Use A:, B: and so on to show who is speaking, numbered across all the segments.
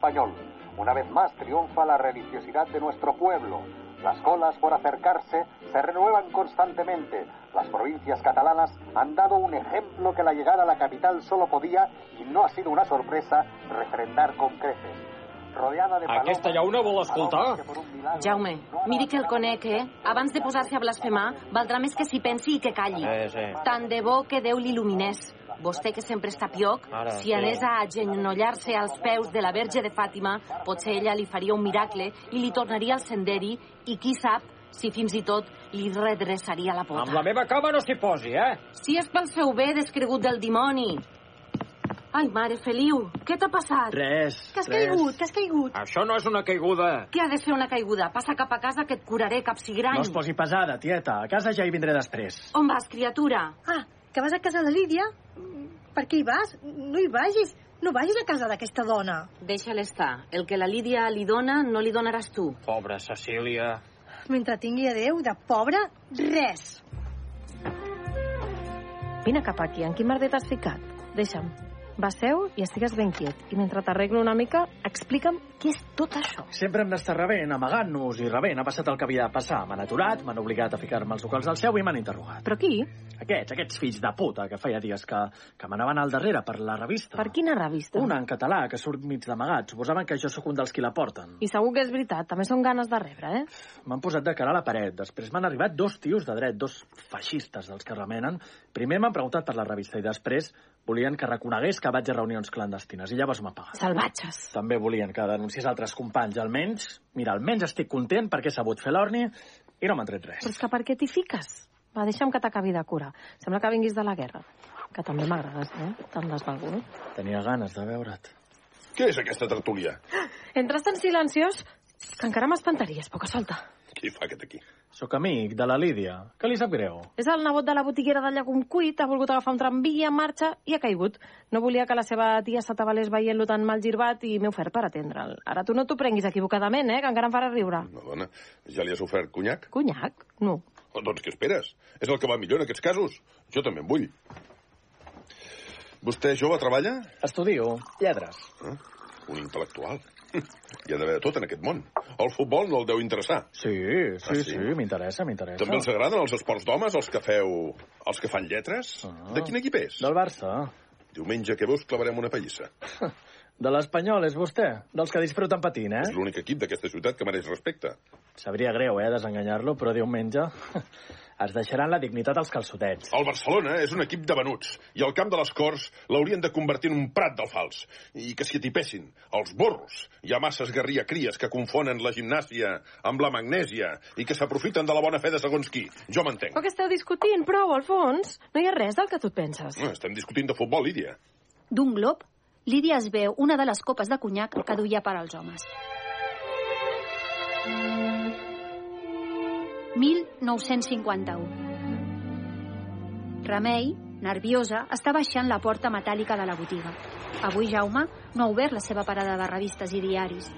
A: Payol. Una vez más triunfa la religiosidad de nuestro pueblo. Las colas por acercarse se renuevan constantemente. Las provincias catalanas han dado un ejemplo que la llegada a la capital solo podía, y no ha sido una sorpresa, refrendar con creces. Rodeada de
B: Aquesta
A: palomes-
B: llauna vol escoltar?
A: palomes que por un milagro
C: Jaume,
A: no han
C: miri que el conec, eh? Abans de posar-se a blasfemar, valdrà més que s'hi pensi i que calli.
D: Sí, sí.
C: Tant de bo que Déu l'il·luminés. Vostè, que sempre està pioc,
D: Ara,
C: si anés
D: sí.
C: a agenollar-se als peus de la Verge de Fàtima, potser ella li faria un miracle i li tornaria al senderi i, qui sap, si fins i tot li redreçaria la
B: Amb la
C: pota.
B: meva cama no s'hi posi, eh?
C: Si és pel seu bé, descregut del dimoni. Ai, mare Feliu, què t'ha passat?
E: Res.
C: Que has
E: res.
C: caigut, que has caigut.
B: Això no és una caiguda.
C: Què ha de ser una caiguda? Passa cap a casa que et curaré, capsigrany.
E: No es posi pesada, tieta. A casa ja hi vindré després.
C: On vas, criatura?
F: Ah, que vas a casa de Lídia? Mm, Per què hi vas? No hi vagis. No vagis a casa d'aquesta dona.
C: Deixa-la estar. El que la Lídia li dona, no li donaràs tu.
D: Pobra Cecília.
F: Mentre tingui a Déu, de pobre, res.
G: Vine cap aquí, en quin merder t'has ficat? Deixa'm. Va seu i estigues ben quiet. I mentre t'arreglo una mica, explica'm què és tot això.
E: Sempre hem d'estar rebent, amagant-nos i rebent. Ha passat el que havia de passar. M'han aturat, m'han obligat a ficar-me als locals del seu i m'han interrogat.
G: Però qui?
E: Aquests, aquests fills de puta que feia dies que, que m'anaven al darrere per la revista.
G: Per quina revista?
E: Una en català, que surt mig d'amagat. Suposaven que jo sóc un dels qui la porten.
G: I segur que és veritat, també són ganes de rebre, eh?
E: M'han posat de cara a la paret. Després m'han arribat dos tios de dret, dos feixistes dels que remenen. Primer m'han preguntat per la revista i després volien que reconegués que vaig a reunions clandestines i llavors m'ha pagat.
G: Salvatges.
E: També volien que denunciés altres companys, almenys... Mira, almenys estic content perquè he sabut fer l'orni i no m'han tret res.
G: Però és que per què t'hi fiques? Va, deixa'm que t'acabi de curar. Sembla que vinguis de la guerra. Que també m'agrades, eh? Tant desvalgut.
E: Tenia ganes de veure't.
H: Què és aquesta tertúlia?
G: Entres tan silenciós que encara m'espantaries, poca solta.
H: Qui fa aquest aquí?
E: Sóc amic de la Lídia. Què li sap greu?
G: És el nebot de la botiguera de llegum cuit, ha volgut agafar un tramvia en marxa i ha caigut. No volia que la seva tia s'atabalés veient-lo tan mal girbat i m'he ofert per atendre'l. Ara tu no t'ho prenguis equivocadament, eh? Que encara em farà riure.
H: No, dona, ja li has ofert conyac?
G: Conyac? No.
H: Oh, doncs què esperes? És el que va millor en aquests casos. Jo també en vull. Vostè jove treballa?
E: Estudio lletres.
H: Eh? Un intel·lectual. Hi ha d'haver de tot en aquest món. El futbol no el deu interessar.
E: Sí, sí,
H: Ah, sí?
E: sí, m'interessa, m'interessa.
H: També els agraden els esports d'homes, els que feu... els que fan lletres?
E: Ah.
H: De quin equip és?
E: Del Barça.
H: Diumenge que veus clavarem una pallissa.
E: De l'Espanyol, és vostè? Dels que disfruten patint, eh?
H: És l'únic equip d'aquesta ciutat que mereix respecte.
E: Sabria greu, eh, desenganyar-lo, però diumenge es deixaran la dignitat als calçotets.
H: El Barcelona és un equip de venuts i el camp de les Corts l'haurien de convertir en un prat d'alfals i que s'hi atipessin els burros. Hi ha masses guerria cries que confonen la gimnàsia amb la magnèsia i que s'aprofiten de la bona fe de segons qui. Jo m'entenc.
G: Però que esteu discutint? Prou, Alfons. No hi ha res del que tu et penses.
H: No, Eh, estem discutint de futbol, Lídia.
I: D'un glob, Lídia es veu una de les copes de conyac que duia per als homes. 1951. Remei, nerviosa, està baixant la porta metàl·lica de la botiga. Avui Jaume no ha obert la seva parada de revistes i diaris.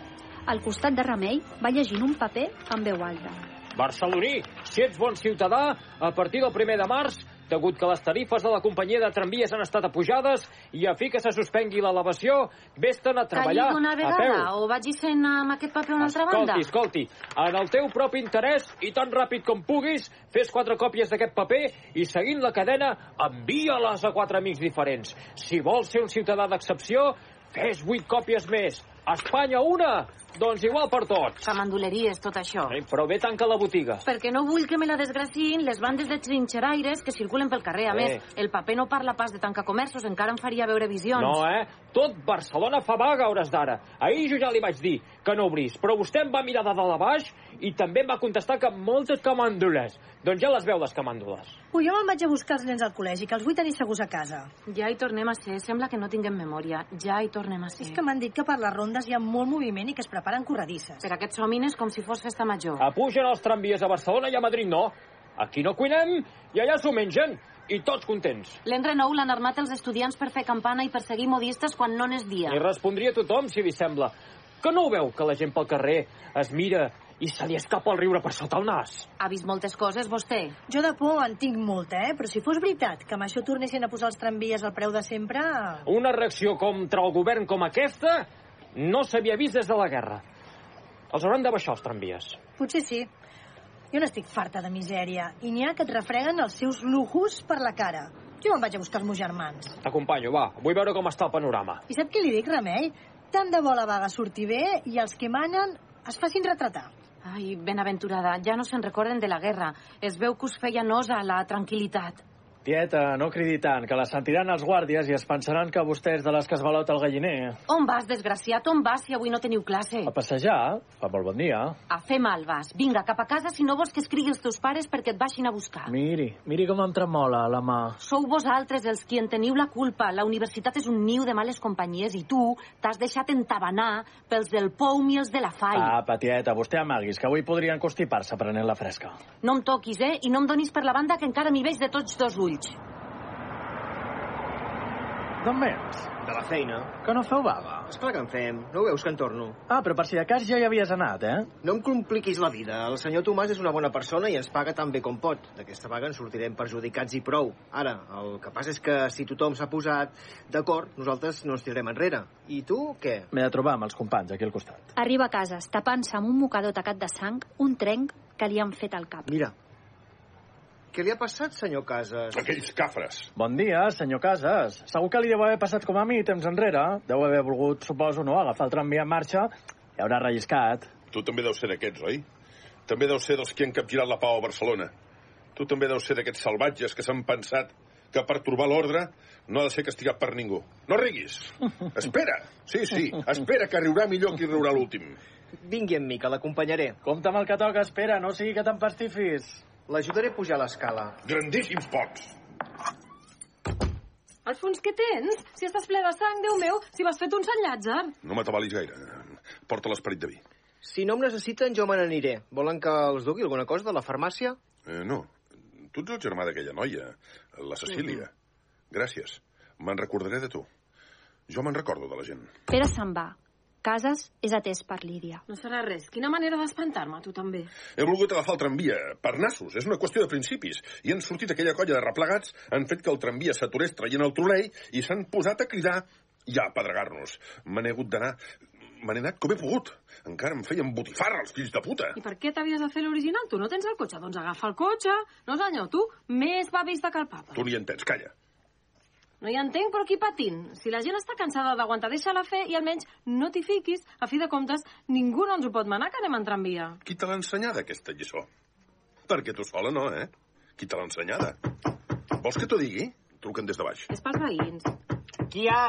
I: Al costat de Remei va llegint un paper en veu alta.
B: Barceloní, si ets bon ciutadà, a partir del primer de març, degut que les tarifes de la companyia de tramvies han estat apujades i a fi que se suspengui l'elevació, vés-te'n a treballar
C: Calli d'una
B: a peu.
C: vegada o vagi fent amb aquest paper a una altra banda.
B: Escolti, escolti, en el teu propi interès i tan ràpid com puguis, fes quatre còpies d'aquest paper i seguint la cadena envia-les a quatre amics diferents. Si vols ser un ciutadà d'excepció, fes vuit còpies més. A Espanya una, doncs igual per tots.
C: Que mandoleries, tot això.
B: Eh, Però bé tanca la botiga.
C: Perquè no vull que me la desgraciïn les bandes de trinxeraires que circulen pel carrer. A
B: Eh.
C: més, el paper no parla pas de tancar comerços, encara em faria veure visions.
B: No, eh? Tot Barcelona fa vaga a hores d'ara. Ahir jo ja li vaig dir que no obrís, però vostè em va mirar de dalt a baix i també em va contestar que moltes camàndules. Doncs ja les veu, les camàndules.
F: Ui, jo me'n vaig a buscar els nens al col·legi, que els vull tenir segurs a casa.
C: Ja hi tornem a ser. Sembla que no tinguem memòria. Ja hi tornem a ser.
F: És que m'han dit que per les rondes hi ha molt moviment i que es preparen corredisses.
C: Per aquests homines com si fos festa major.
B: Apugen els tramvies a Barcelona i a Madrid no. Aquí no cuinem i allà s'ho mengen. I tots contents.
C: L'enre nou l'han armat els estudiants per fer campana i perseguir modistes quan no n'és dia.
B: I respondria tothom, si li sembla. Que no ho veu, que la gent pel carrer es mira i se li escapa el riure per sota el nas?
C: Ha vist moltes coses, vostè.
F: Jo de por en tinc molta, eh? Però si fos veritat que amb això tornessin a posar els tramvies al preu de sempre...
B: Una reacció contra el govern com aquesta No s'havia vist des de la guerra. Els hauran de baixar els tramvies.
F: Potser sí. Jo n'estic farta de misèria i n'hi ha que et refreguen els seus lujos per la cara. Jo me'n vaig a buscar els meus germans.
B: T'acompanyo, va. Vull veure com està el panorama.
F: I sap què li dic, Remei? Tant de bo la vaga surti bé i els que manen es facin retratar.
C: Ai, benaventurada, ja no se'n recorden de la guerra. Es veu que us feia nosa la tranquil·litat.
E: Tieta, no cridi tant, que la sentiran els guàrdies i es pensaran que vostè és de les que es balota el galliner.
C: On vas, desgraciat? On vas si avui no teniu classe?
E: A passejar, fa molt bon dia.
C: A fer mal vas. Vinga, cap a casa si no vols que escrigui els teus pares perquè et baixin a buscar.
E: Miri, miri com em tremola la mà.
C: Sou vosaltres els qui en teniu la culpa. La universitat és un niu de males companyies i tu t'has deixat entabanar pels del Poum i els de la FAI.
E: Apa, tieta, vostè amaguis, que avui podrien constipar-se prenent la fresca.
C: No em toquis, eh? I no em donis per la banda que encara m'hi veig de tots dos ulls.
E: D'on vens?
D: De la feina.
E: Que no feu vaga?
D: Esclar que en fem. No ho veus que en torno?
E: Ah, però per si de cas ja hi havies anat, eh?
D: No em compliquis la vida. El senyor Tomàs és una bona persona i ens paga tan bé com pot. D'aquesta vaga en sortirem perjudicats i prou. Ara, el que passa és que si tothom s'ha posat d'acord, nosaltres no ens tirarem enrere. I tu, què?
E: M'he de trobar amb els companys aquí al costat.
I: Arriba a casa, tapant-se amb un mocador tacat de sang, un trenc que li han fet al cap.
D: Mira. Què li ha passat, senyor Casas?
H: Aquells cafres.
E: Bon dia, senyor Casas. Segur que li deu haver passat com a mi temps enrere. Deu haver volgut, suposo, no, agafar el tramvia en marxa i haurà relliscat.
H: Tu també deus ser d'aquests, oi? També deus ser dels que han capgirat la pau a Barcelona. Tu també deus ser d'aquests salvatges que s'han pensat que per trobar l'ordre no ha de ser castigat per ningú. No riguis. Espera. Sí, sí, espera, que riurà millor qui riurà l'últim.
D: Vingui amb mi, que l'acompanyaré.
E: Compte amb el que toca, espera, no sigui que t'empastifis.
D: L'ajudaré a pujar l'escala.
H: Grandíssims pocs.
G: Alfons, què tens? Si estàs ple de sang, Déu meu, si m'has fet un Sant Llàtzer.
H: No m'atabalis gaire. Porta l'esperit de vi.
D: Si no em necessiten, jo me n'aniré. Volen que els dugui alguna cosa de la farmàcia?
H: Eh, no. Tu ets el germà d'aquella noia, la Cecília. Gràcies. Me'n recordaré de tu. Jo me'n recordo de la gent.
I: Pere se'n va. Casas és atès per Lídia.
J: No serà res. Quina manera d'espantar-me, tu també.
H: He volgut agafar el tramvia per nassos. És una qüestió de principis. I han sortit aquella colla de replegats, han fet que el tramvia s'aturés traient el trolei i s'han posat a cridar i a pedregar-nos. Me n'he hagut d'anar... Me n'he anat com he pogut. Encara em feien botifarra, els fills de puta.
J: I per què t'havies de fer l'original? Tu no tens el cotxe, doncs agafa el cotxe. No, senyor, tu més va vista que el papa.
H: Tu ni entens, calla.
J: No hi entenc, però qui patint? Si la gent està cansada d'aguantar, deixa-la fer i almenys no t'hi fiquis. A fi de comptes, ningú no ens ho pot manar que anem en tramvia.
H: Qui te l'ha ensenyada, aquesta lliçó? Perquè tu sola no, eh? Qui te l'ha ensenyada? Vols que t'ho digui? Truquen des de baix.
J: És pels veïns.
D: Qui hi ha?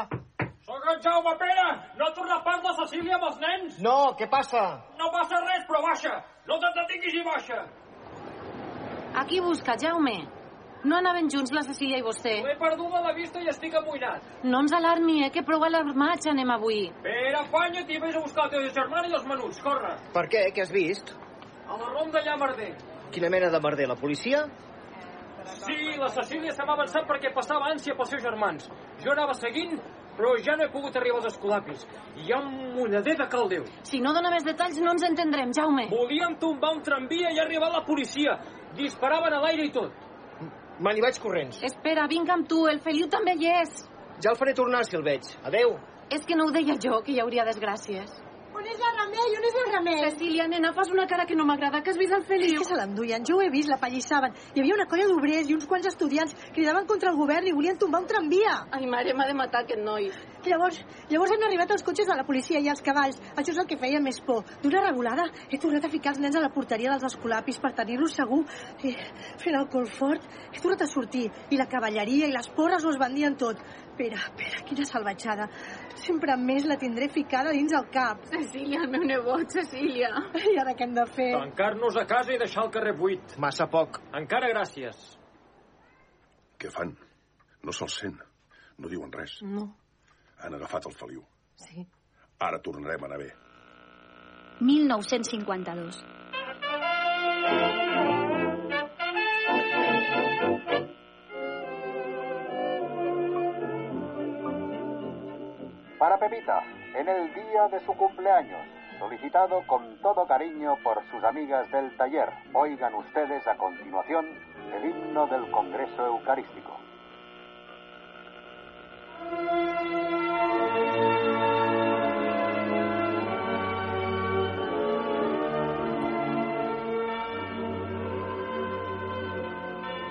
B: Sóc en Jaume Pere! No ha tornat pas la Cecília amb els nens?
D: No, què passa?
B: No passa res, però baixa! No te'n detinguis i baixa!
C: A qui busca, Jaume? No anaven junts la Cecília i vostè.
B: L'he perduda la vista i estic amoïnat.
C: No ens alarmi, eh, que prou alarmats anem avui.
B: Pere, afanya't i vés a buscar la teva germana i els menuts, corre!
D: Per què? Què has vist?
B: A la ronda Llamarder.
D: Quina mena de merder, la policia?
B: Sí, la Cecília se m'ha avançat perquè passava ànsia pels seus germans. Jo anava seguint, però ja no he pogut arribar als escolapis. Hi ha un moneder de caldeu.
C: Si no dona més detalls no ens entendrem, Jaume.
B: Volíem tombar un tramvia i ha arribat la policia. Disparaven a l'aire i tot.
D: Me n'hi vaig corrents.
C: Espera, vinc amb tu, el Feliu també hi és.
D: Ja el faré tornar si el veig. Adeu.
C: És que no ho deia jo, que hi hauria desgràcies.
F: On és el remei? On és el remei?
C: Cecília, nena, fas una cara que no m'agrada, que has vist el
F: És
C: Feliu.
F: que se l'enduien, jo ho he vist, la pallissaven. Hi havia una colla d'obrers i uns quants estudiants cridaven contra el govern i volien tombar un tramvia.
J: Ai, mare, m'ha de matar aquest noi.
F: Llavors, llavors han arribat els cotxes de la policia i els cavalls. Això és el que feia més por. D'una regulada he tornat a ficar els nens a la porteria dels escolapis per tenir-los segur. I, fent el col fort, he tornat a sortir. I la cavalleria i les porres ho es vendien tot. Pere, Pere, quina salvatjada. Sempre més la tindré ficada dins el cap.
J: Cecília, el meu nebot, Cecília.
F: I ara què hem de fer?
B: Tancar-nos a casa i deixar el carrer buit.
D: Massa poc.
B: Encara gràcies.
H: Què fan? No se'ls sent. No diuen res.
G: No,
H: Han agafat el feliu.
G: sí.
H: Ara tornarem a anar bé.
I: 1952.
A: Para Pepita, en el día de su cumpleaños, solicitado con todo cariño por sus amigas del taller, oigan ustedes a continuación el himno del Congreso Eucarístico.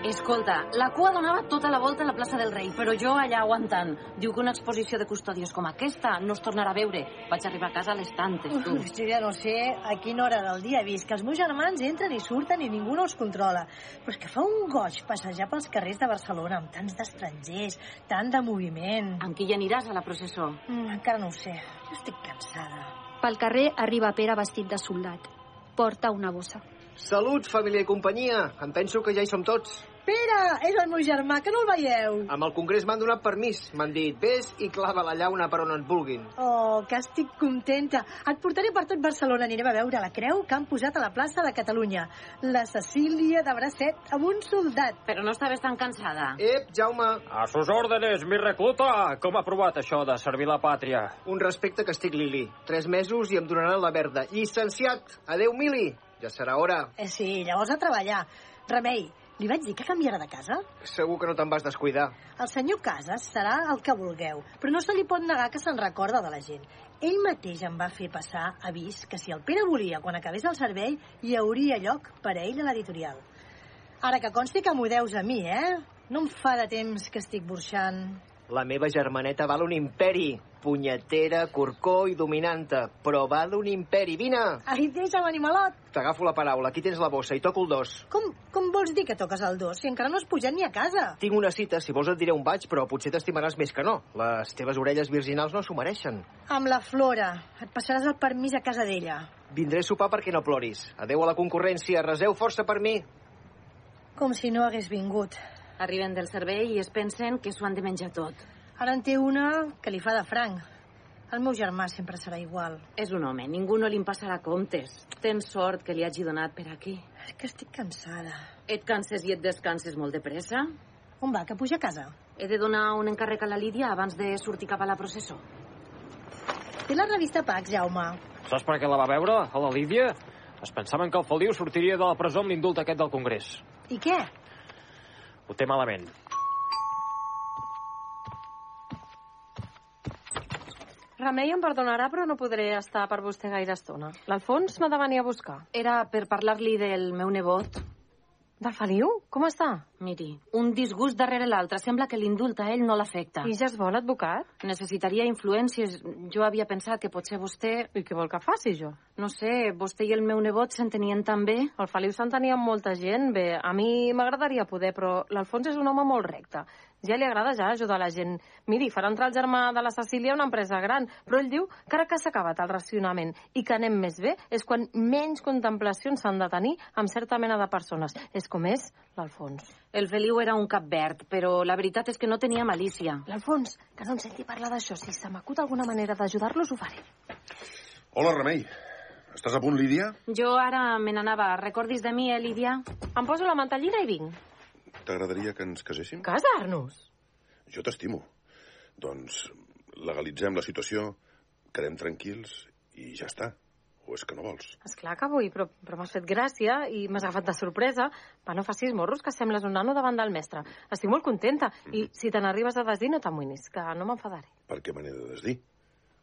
C: Escolta, la cua donava tota la volta a la plaça del rei, però jo allà aguantant. Diu que una exposició de custòdies com aquesta no es tornarà a veure. Vaig arribar a casa a les tantes, tu.
F: Uf, jo ja no sé a quina hora del dia he vist que els meus germans entren i surten i ningú no els controla. Però és que fa un goig passejar pels carrers de Barcelona amb tants d'estrangers, tant de moviment.
C: Amb qui hi aniràs a la processó?
F: Mm, encara no ho sé. Jo estic cansada.
I: Pel carrer arriba Pere vestit de soldat. Porta una bossa.
D: Salut, família i companyia. Em penso que ja hi som tots.
F: Pere, és el meu germà,
I: Ah,
F: que no el veieu.
D: Amb el Congrés m'han donat permís. M'han dit, vés i clava la llauna per on et vulguin.
F: Oh, que estic contenta. Et portaré per tot Barcelona. Anirem a veure la creu que han posat a la plaça de Catalunya. La Cecília de Bracet amb un soldat.
C: Però no estaves tan cansada.
D: Ep, Jaume,
B: A sus òrdenes, mi recluta! Com ha provat això de servir la pàtria?
D: un respecte que estic Lili. Tres mesos i em donaran la verda. Llicenciat! Adeu, Mili! Ja serà hora.
F: Eh, sí, llavors a treballar. Remei, li vaig dir que canviarà de casa?
D: Segur que no te'n vas descuidar.
F: El senyor Casas serà el que vulgueu, però no se li pot negar que se'n recorda de la gent. Ell mateix em va fer passar avís que si el Pere volia, quan acabés el servei, hi hauria lloc per a ell a l'editorial. Ara que consti que m'ho deus a mi, eh? No em fa de temps que estic burxant.
D: La meva germaneta val un imperi. Punyetera, corcó i dominanta. Però val un imperi. Vine!
F: Ai, deixa'm, animalot!
D: T'agafo la paraula. Aquí tens la bossa i toco el dos.
F: Com, com vols dir que toques el dos si encara no has pujat ni a casa?
D: Tinc una cita, si vols et diré on vaig, però potser t'estimaràs més que no. Les teves orelles virginals no s'ho mereixen.
F: Amb la Flora. Et passaràs el permís a casa d'ella.
D: Vindré a sopar perquè no ploris. Adeu a la concurrència, reseu força per mi.
F: Com si no hagués vingut.
C: Arriben del servei i es pensen que s'ho han de menjar tot.
F: Ara en té una que li fa de franc. El meu germà sempre serà igual.
C: És un home, ningú no li en passarà comptes. Tens sort que li hagi donat per aquí.
F: És que estic cansada.
C: Et canses i et descanses molt de pressa?
F: On va, que puja a casa?
C: He de donar un encàrrec a la Lídia abans de sortir cap a la processó.
F: Té la revista Pax, Jaume.
B: Saps per què la va veure, a la Lídia? Es pensaven que el Feliu sortiria de la presó amb l'indult aquest del Congrés.
F: I què?
B: Ho té malament.
G: Remei em perdonarà, però no podré estar per vostè gaire estona. L'Alfons m'ha de venir a buscar.
C: Era per parlar-li del meu nebot.
G: Del Feliu? Com està?
C: Miri, un disgust darrere l'altre. Sembla que l'indult a ell no l'afecta.
G: I ja es vol, advocat?
C: Necessitaria influències. Jo havia pensat que potser vostè...
G: I què vol que faci, jo?
C: No sé, vostè i el meu nebot s'entenien tan bé.
G: El Feliu s'entenia amb molta gent. Bé, a mi m'agradaria poder, però l'Alfons és un home molt recte. Ja li agrada ja ajudar la gent. Miri, farà entrar el germà de la Cecília a una empresa gran, però ell diu que ara que s'ha acabat el racionament i que anem més bé és quan menys contemplacions s'han de tenir amb certa mena de persones. És com és l'Alfons.
C: El Feliu era un cap verd, però la veritat és que no tenia malícia.
G: L'Alfons, que no em senti parlar d'això. Si se m'acut alguna manera d'ajudar-los, ho faré.
H: Hola, Remei. Estàs a punt, Lídia?
C: Jo ara me n'anava. Recordis de mi, eh, Lídia?
G: Em poso la mantellina i vinc.
H: T'agradaria que ens caséssim?
G: Casar-nos?
H: Jo t'estimo. Doncs legalitzem la situació, quedem tranquils i ja està. O és que no vols?
G: És clar que vull, però, però m'has fet gràcia i m'has agafat de sorpresa. Va, no facis morros, que sembles un nano davant del mestre. Estic molt contenta i si te n'arribes a desdir no t'amoïnis, que no m'enfadaré.
H: Per què me n'he de desdir?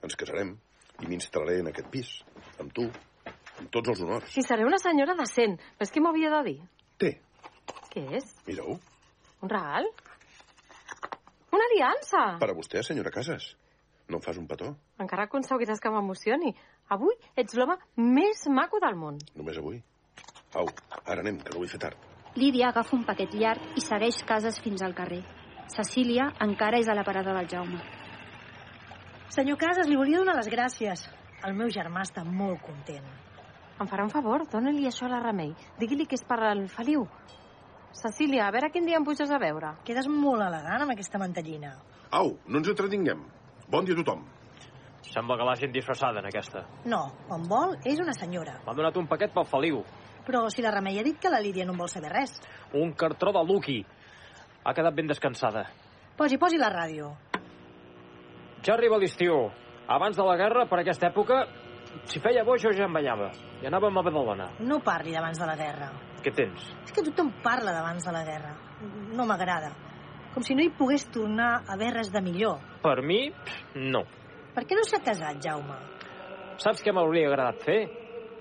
H: Ens casarem i m'instal·laré en aquest pis, amb tu, amb tots els honors.
G: I seré una senyora decent, però és que m'ho havia de dir.
H: Té,
G: Què és?
H: mira-ho,
G: Un regal? Una aliança!
H: per a vostè, senyora Casas. No em fas un petó,
G: Encara aconseguiràs que m'emocioni. Avui ets l'home més maco del món.
H: només avui. Au, ara anem, que no vull fer tard.
I: Lídia agafa un paquet llarg i segueix cases fins al carrer. Cecília encara és a la parada del Jaume.
F: Senyor Casas, li volia donar les gràcies. El meu germà està molt content.
G: Em farà un favor, dona-li això a la Remei. Digui-li que és per al Feliu. Cecília, a veure quin dia em puges a veure.
F: Quedes molt elegant amb aquesta mantellina.
H: Au, no ens entretinguem. Bon dia a tothom.
B: Sembla que l'hagin disfressada, en aquesta.
F: No, quan vol és una senyora.
B: M'ha donat un paquet pel Feliu.
F: Però si la Remei ha dit que la Lídia no en vol saber res.
B: Un cartró de Lucky. Ha quedat ben descansada.
F: Posi, posi la ràdio.
B: Ja arriba l'estiu. Abans de la guerra, per aquesta època, si feia bo, jo ja em banyava. I anàvem a Badalona.
F: No parli d'abans de la guerra.
B: Què tens?
F: És que tothom parla d'abans de la guerra. No m'agrada. Com si no hi pogués tornar a haver res de millor.
B: Per mi, pff, no.
F: Per què no s'ha casat, Jaume?
B: Saps què m'hauria agradat fer?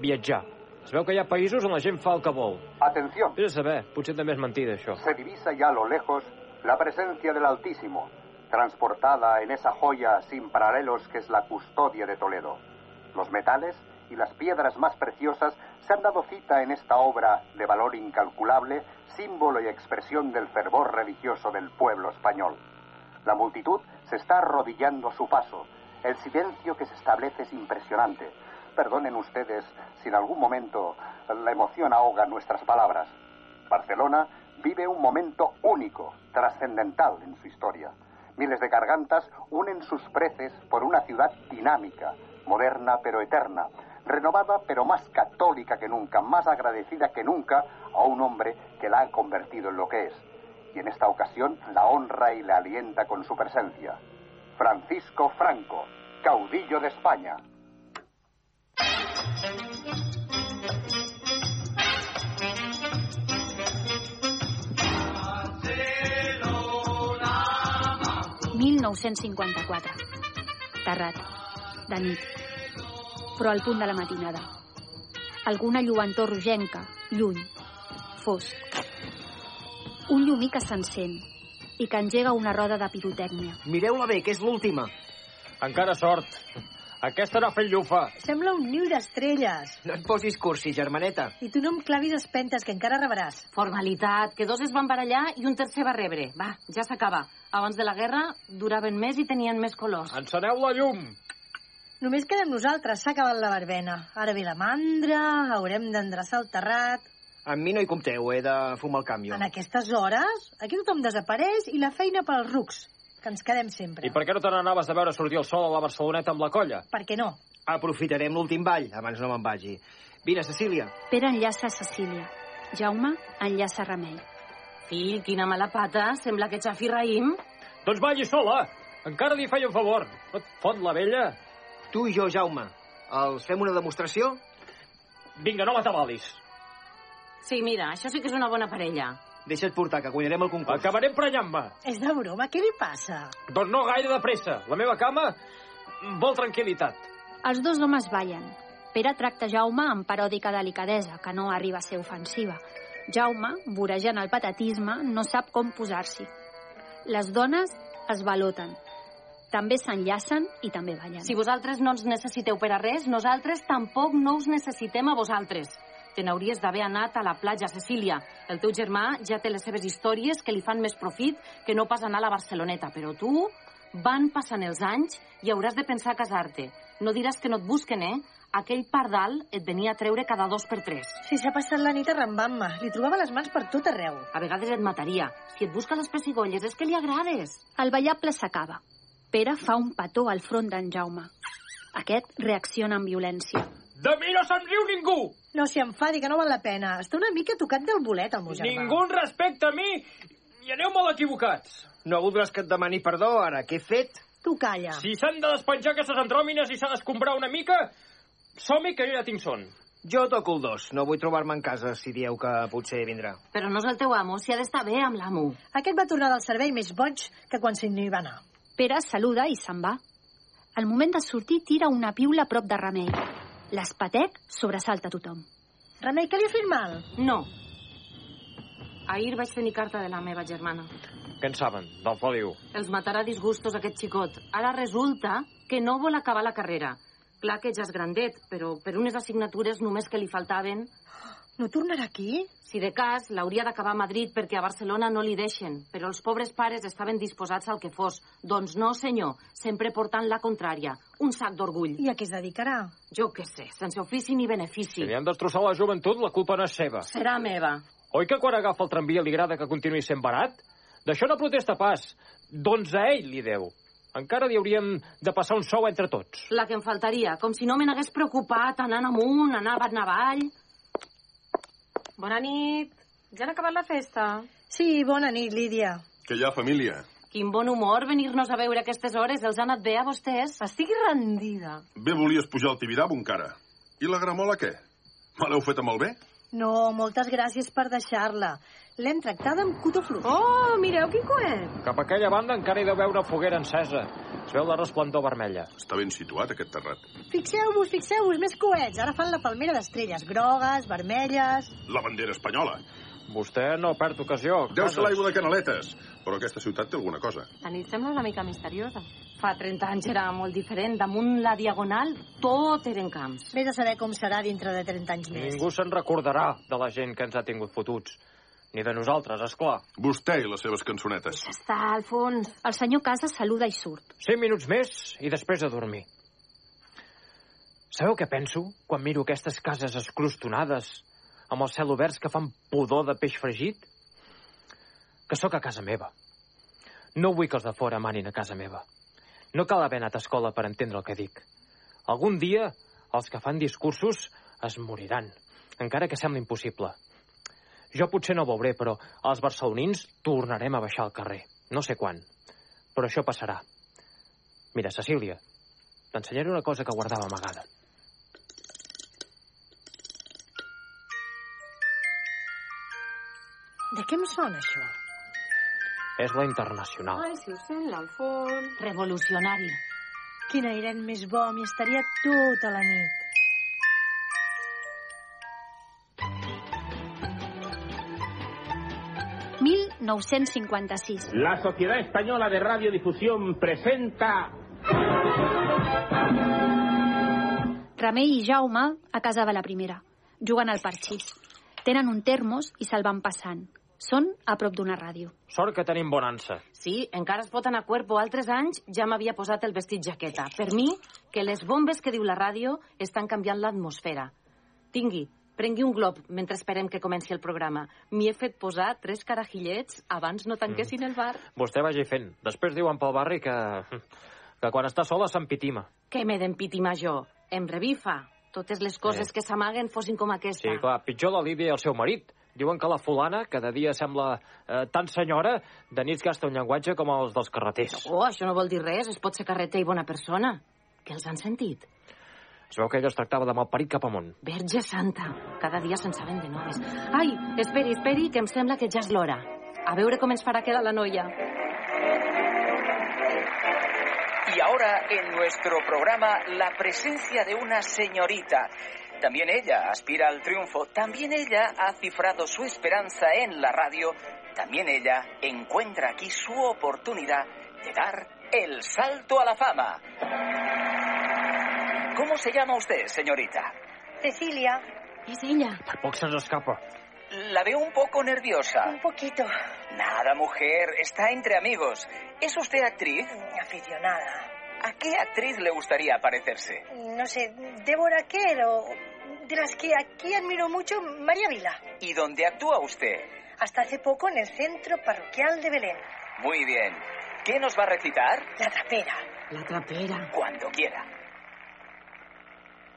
B: Viatjar. Es veu que hi ha països on la gent fa el que vol.
A: Atención,
B: Vés a saber, potser també és mentida, això.
A: se divisa ya a lo lejos la presencia del Altísimo, transportada en esa joya sin paralelos que es la custodia de Toledo. Los metales y las piedras más preciosas se han dado cita en esta obra de valor incalculable, símbolo y expresión del fervor religioso del pueblo español. La multitud se está arrodillando a su paso. El silencio que se establece es impresionante. Perdonen ustedes si en algún momento la emoción ahoga nuestras palabras. Barcelona vive un momento único, trascendental en su historia. Miles de gargantas unen sus preces por una ciudad dinámica, moderna pero eterna, renovada pero más católica que nunca, más agradecida que nunca a un hombre que la ha convertido en lo que es y en esta ocasión la honra y la alienta con su presencia. Francisco Franco, caudillo de España.
I: Barcelona. 1954. Terrat. De nit. Però al punt de la matinada. Alguna lluentor rogenca, lluny, fosc. Un llumí que s'encén i que engega una roda de pirotècnia.
D: Mireu-la bé, que és l'última.
B: Encara sort. Aquesta no ha fet llufa.
F: Sembla un niu d'estrelles.
D: No et posis cursi, germaneta.
F: I tu no em clavis espentes, que encara rebràs.
C: Formalitat, que dos es van barallar i un tercer va rebre. Va, ja s'acaba. Abans de la guerra duraven més i tenien més colors.
B: Enceneu la llum.
F: Només quedem nosaltres, s'ha acabat la verbena. Ara ve la mandra, haurem d'endreçar el terrat...
D: Amb mi no hi compteu, he de fumar el canvi.
F: En aquestes hores, aquí tothom desapareix i la feina pels rucs, que ens quedem sempre.
B: I per què no te n'anaves a veure sortir el sol a la Barceloneta amb la colla?
F: Per què no?
D: Aprofitarem l'últim ball, abans no me'n vagi. Vine, Cecília.
I: Pere enllaça Cecília. Jaume enllaça Remei.
C: Fill, quina mala pata. Sembla que Xafi Raïm...
B: Doncs balli sola. Encara li feia un favor. No et fot la vella.
D: Tu i jo, Jaume, els fem una demostració?
B: Vinga, no la t'avalis.
C: Sí, mira, això sí que és una bona parella.
D: Deixa't portar, que guanyarem el concurs.
B: Acabaré emprenyant-me.
F: És de broma, què li passa?
B: Doncs no gaire de pressa. La meva cama vol tranquil·litat.
I: Els dos homes ballen. Pere tracta Jaume amb paròdica delicadesa, que no arriba a ser ofensiva. Jaume, vorejant el patatisme, no sap com posar-s'hi. Les dones es baloten. També s'enllacen i també ballen.
C: Si vosaltres no ens necessiteu per a res, nosaltres tampoc no us necessitem a vosaltres. Te n'hauries d'haver anat a la platja, Cecília. El teu germà ja té les seves històries que li fan més profit que no pas anar a la Barceloneta, però tu van passant els anys i hauràs de pensar a casar-te. No diràs que no et busquen, eh? Aquell pardal et venia a treure cada dos per tres.
F: Si s'ha passat la nit arrambant-me, li trobava les mans per tot arreu.
C: A vegades et mataria. Si et busca les pessigolles és que li agrades.
I: El ballable s'acaba. Pere fa un petó al front d'en Jaume. Aquest reacciona amb violència.
B: De mi no se'n riu ningú!
F: No s'hi enfadi, que no val la pena. Està una mica tocat del bolet, el meu germà.
B: Ningú en respecta a mi i aneu molt equivocats.
D: No voldràs que et demani perdó, ara. Què he fet?
F: Tu calla.
B: Si s'han de despenjar aquestes andròmines i s'ha d'escombrar una mica, som-hi que jo ja tinc son.
D: Jo toco el dos. No vull trobar-me en casa si dieu que potser vindrà.
C: Però no és el teu amo, si ha d'estar bé amb l'amo.
F: Aquest va tornar del servei més boig que quan se'n hi va anar.
I: Pere saluda i se'n va. Al moment de sortir, tira una piula a prop de Remei. L'espatec sobresalta tothom.
F: Remei, què li ha fet mal?
C: No. Ahir vaig tenir carta de la meva germana.
B: Què en saben, del Feliu?
C: Els matarà disgustos aquest xicot. Ara resulta que no vol acabar la carrera. Clar que ja és grandet, però per unes assignatures només que li faltaven...
F: No tornarà aquí?
C: Si de cas, l'hauria d'acabar a Madrid perquè a Barcelona no li deixen, però els pobres pares estaven disposats al que fos. Doncs no, senyor, sempre portant la contrària. Un sac d'orgull.
F: I a què es dedicarà?
C: Jo què sé, sense ofici ni
B: Si
C: benefici.
B: li han destrossat la joventut, la culpa no és seva.
C: Serà meva.
B: Oi que quan agafa el tramvia li agrada que continuï sent barat? D'això no protesta pas. Doncs a ell li deu. Encara li hauríem de passar un sou entre tots.
C: La que em faltaria, com si no me n'hagués preocupat anant amunt, anant avall.
G: Bona nit. Ja han acabat la festa.
F: Sí, bona nit, Lídia.
H: Que hi ha família.
C: Quin bon humor venir-nos a veure a aquestes hores. Els ha anat bé a vostès?
G: Estic rendida.
H: Bé volies pujar al Tibidabo encara. I la gramola què? Me l'heu fet amb el bé?
F: No, moltes gràcies per deixar-la. L'hem tractada amb cotó fluix.
G: Oh, mireu quin coet.
B: Cap a aquella banda encara hi deu veure foguera encesa. Es veu la resplendor vermella.
H: Està ben situat, aquest terrat.
F: Fixeu-vos, fixeu-vos, més coets. Ara fan la palmera d'estrelles grogues, vermelles...
H: La bandera espanyola.
B: Vostè no perd ocasió.
H: Deu ser
B: Casas.
H: l'aigua de Canaletes. Però aquesta ciutat té alguna cosa.
G: La nit sembla una mica misteriosa.
C: Fa 30 anys era molt diferent. Damunt la diagonal tot eren camps.
F: Vés a saber com serà dintre de 30 anys més.
B: Ningú se'n recordarà de la gent que ens ha tingut fotuts. Ni de nosaltres, és clar.
H: Vostè i les seves cançonetes.
I: Està al fons. El senyor Casas saluda i surt.
B: Cinc minuts més i després a dormir. Sabeu què penso quan miro aquestes cases escrostonades amb els cel oberts que fan pudor de peix fregit? Que sóc a casa meva. No vull que els de fora manin a casa meva. No cal haver anat a escola per entendre el que dic. Algun dia els que fan discursos es moriran, encara que sembli impossible. Jo potser no ho veuré, però els barcelonins tornarem a baixar al carrer. No sé quan, però això passarà. Mira, Cecília, t'ensenyaré una cosa que guardava amagada.
F: De què em sona, això?
B: És la internacional.
G: Ai, si ho sent, l'Alfons...
C: Revolucionari.
F: Quin airet més bo, m'hi estaria tota la nit.
I: Mil 1956.
K: La Sociedad Española de Radiodifusión presenta
I: Remei i Jaume a casa de la primera. Juguen al parxís. Tenen un termos i se'l van passant. Són a prop d'una ràdio.
B: Sort que tenim bonança.
C: Sí, encara es pot anar a cuerpo. Altres anys ja m'havia posat el vestit jaqueta. Per mi, que les bombes que diu la ràdio estan canviant l'atmosfera. Tingui, prengui un glob mentre esperem que comenci el programa. M'hi he fet posar tres carajillets abans no tanquessin
B: Mm.
C: el bar.
B: Vostè vagi fent. Després diuen pel barri que... que quan està sola s'empitima.
C: Que m'he d'empitimar jo? Em revifa. Totes les coses
B: Eh.
C: que s'amaguen fossin com aquesta.
B: Sí, clar, pitjor la Lídia i el seu marit. Diuen que la fulana, que de dia sembla eh, tan senyora, de nits gasta un llenguatge com els dels carreters.
C: Oh, això no vol dir res. Es pot ser carreter i bona persona. Que els han sentit?
B: Es veu que ella es tractava de malparit cap amunt.
C: Verge Santa, cada dia se'n saben de noves. Ai, esperi, esperi, que em sembla que ja és l'hora. A veure com ens farà quedar la noia.
L: Y ahora en nuestro programa la presencia de una señorita. También ella aspira al triunfo, también ella ha cifrado su esperanza en la radio, también ella encuentra aquí su oportunidad de dar el salto a la fama. ¿Cómo se llama usted, señorita?
F: Cecília,
C: És ella.
B: Per poc se'ns escapa.
L: La veo un poco nerviosa.
F: poquito.
L: Nada, mujer, está entre amigos. ¿Es usted actriz?
F: Mm, Aficionada.
L: ¿A qué actriz le gustaría parecerse?
F: No sé, Débora Kerr o... De las que aquí admiro mucho, María Vila.
L: ¿Y dónde actúa usted?
F: Hasta hace poco en el centro parroquial de Belén.
L: Muy bien. ¿Qué nos va a recitar?
F: La trapera.
C: La trapera.
L: Cuando quiera.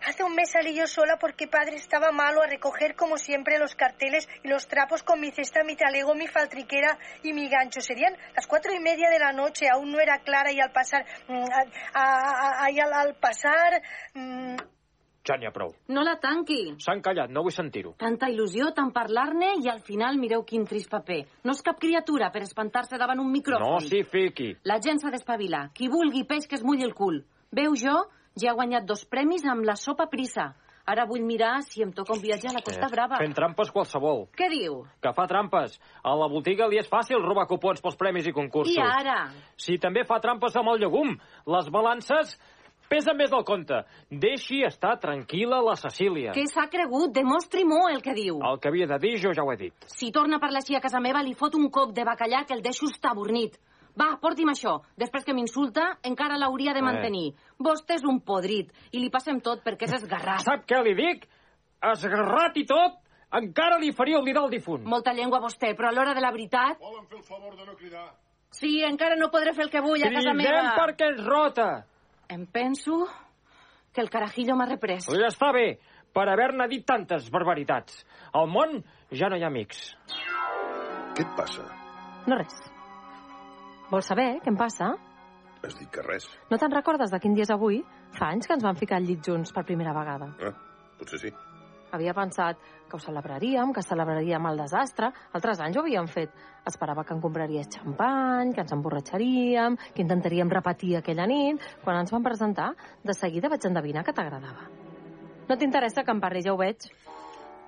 F: Hace un mes salí yo sola porque padre estaba malo a recoger como siempre los carteles y los trapos con mi cesta, mi talego, mi faltriquera y mi gancho. Serían las cuatro y media de la noche, aún no era clara y al pasar, mm, a- a- a- y al, al pasar, mm,
B: Ja n'hi ha prou.
C: No la tanqui.
B: S'han callat, no vull sentir-ho.
C: Tanta il·lusió, tant parlar-ne i al final mireu quin trist paper. No és cap criatura per espantar-se davant un micròfon.
B: No s'hi fiqui.
C: La gent s'ha d'espavilar. Qui vulgui peix que es mulli el cul. Veu jo, ja he guanyat dos premis amb la sopa prisa. Ara vull mirar si em toca un viatge a la Costa Brava.
B: Eh, Fent trampes qualsevol.
C: Què diu?
B: Que fa trampes. A la botiga li és fàcil robar cupons pels premis i concursos.
C: I ara?
B: Si també fa trampes amb el llegum, les balances pesen més del compte. Deixi estar tranquil·la la Cecília.
C: Què s'ha cregut? Demostri-m'ho el que diu.
B: El que havia de dir jo ja ho he dit.
C: Si torna a parlar així a casa meva, li fot un cop de bacallà que el deixo estabornit. Va, porti'm això. Després que m'insulta, encara l'hauria de
B: Eh.
C: mantenir. Vostè és un podrit i li passem tot perquè és esgarrat.
B: Sap què li dic? Esgarrat i tot, encara li faria oblidar el difunt.
C: Molta llengua vostè, però a l'hora de la veritat...
H: Volen fer el favor de no cridar.
C: Sí, encara no podré fer el que vull a casa
B: Cridem
C: meva.
B: perquè ens rota.
C: Em penso que el carajillo m'ha reprès.
B: Doncs ja està bé, per haver-ne dit tantes barbaritats. Al món ja no hi ha amics.
H: Què et passa?
G: No res. Vols saber què em passa?
H: Has dit que res.
G: No te'n recordes de quin dia és avui? Fa anys que ens vam ficar al llit junts per primera vegada.
H: Ah, potser sí.
G: Havia pensat que ho celebraríem, que celebraríem el desastre. Altres anys ho havíem fet. Esperava que en compraries xampany, que ens emborratxaríem, que intentaríem repetir aquella nit. Quan ens van presentar, de seguida vaig endevinar que t'agradava. No t'interessa que em parli, ja ho veig.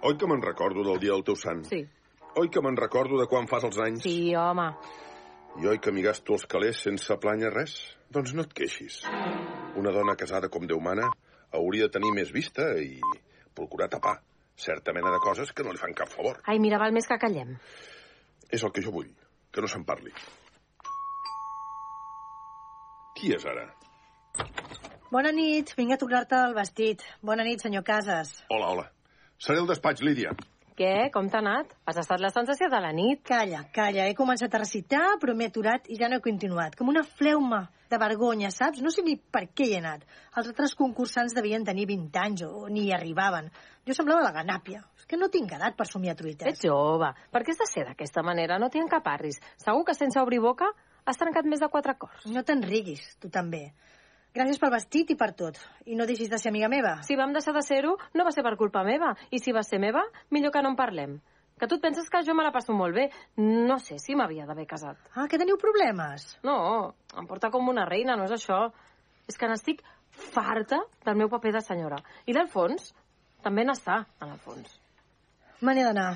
H: Oi que me'n recordo del dia del teu sant?
G: Sí.
H: Oi que me'n recordo de quan fas els anys?
G: Sí, home.
H: I oi que m'hi gasto els calés sense planya res? Doncs no et queixis. Una dona casada com Déu mana hauria de tenir més vista i procurar tapar certa mena de coses que no li fan cap favor.
G: Ai, mira, val més que callem.
H: És el que jo vull, que no se'n parli. Qui és ara?
F: Bona nit, vinc a tornar-te el vestit. Bona nit, senyor Casas.
H: Hola, hola. Seré al despatx, Lídia.
G: Què? Com t'ha anat? Has estat la sensació de la nit?
F: Calla, calla. He començat a recitar, però m'he aturat i ja no he continuat. Com una fleuma de vergonya, saps? No sé ni per què hi he anat. Els altres concursants devien tenir 20 anys o, o ni hi arribaven. Jo semblava la ganàpia. És que no tinc edat per somiar truites.
G: Ets jove. Per què has de ser d'aquesta manera? No t'hi encaparris. Segur que sense obrir boca has trencat més de quatre cors.
F: No te'n riguis, tu també. Gràcies pel vestit i per tot. I no deixis de ser amiga meva.
G: Si vam deixar de ser-ho, no va ser per culpa meva. I si va ser meva, millor que no en parlem. Que tu et penses que jo me la passo molt bé. No sé si m'havia d'haver casat.
F: Ah, que teniu problemes?
G: No, em porta com una reina, no és això. És que n'estic farta del meu paper de senyora. I l'Alfons també n'està, en el fons.
F: Me n'he d'anar.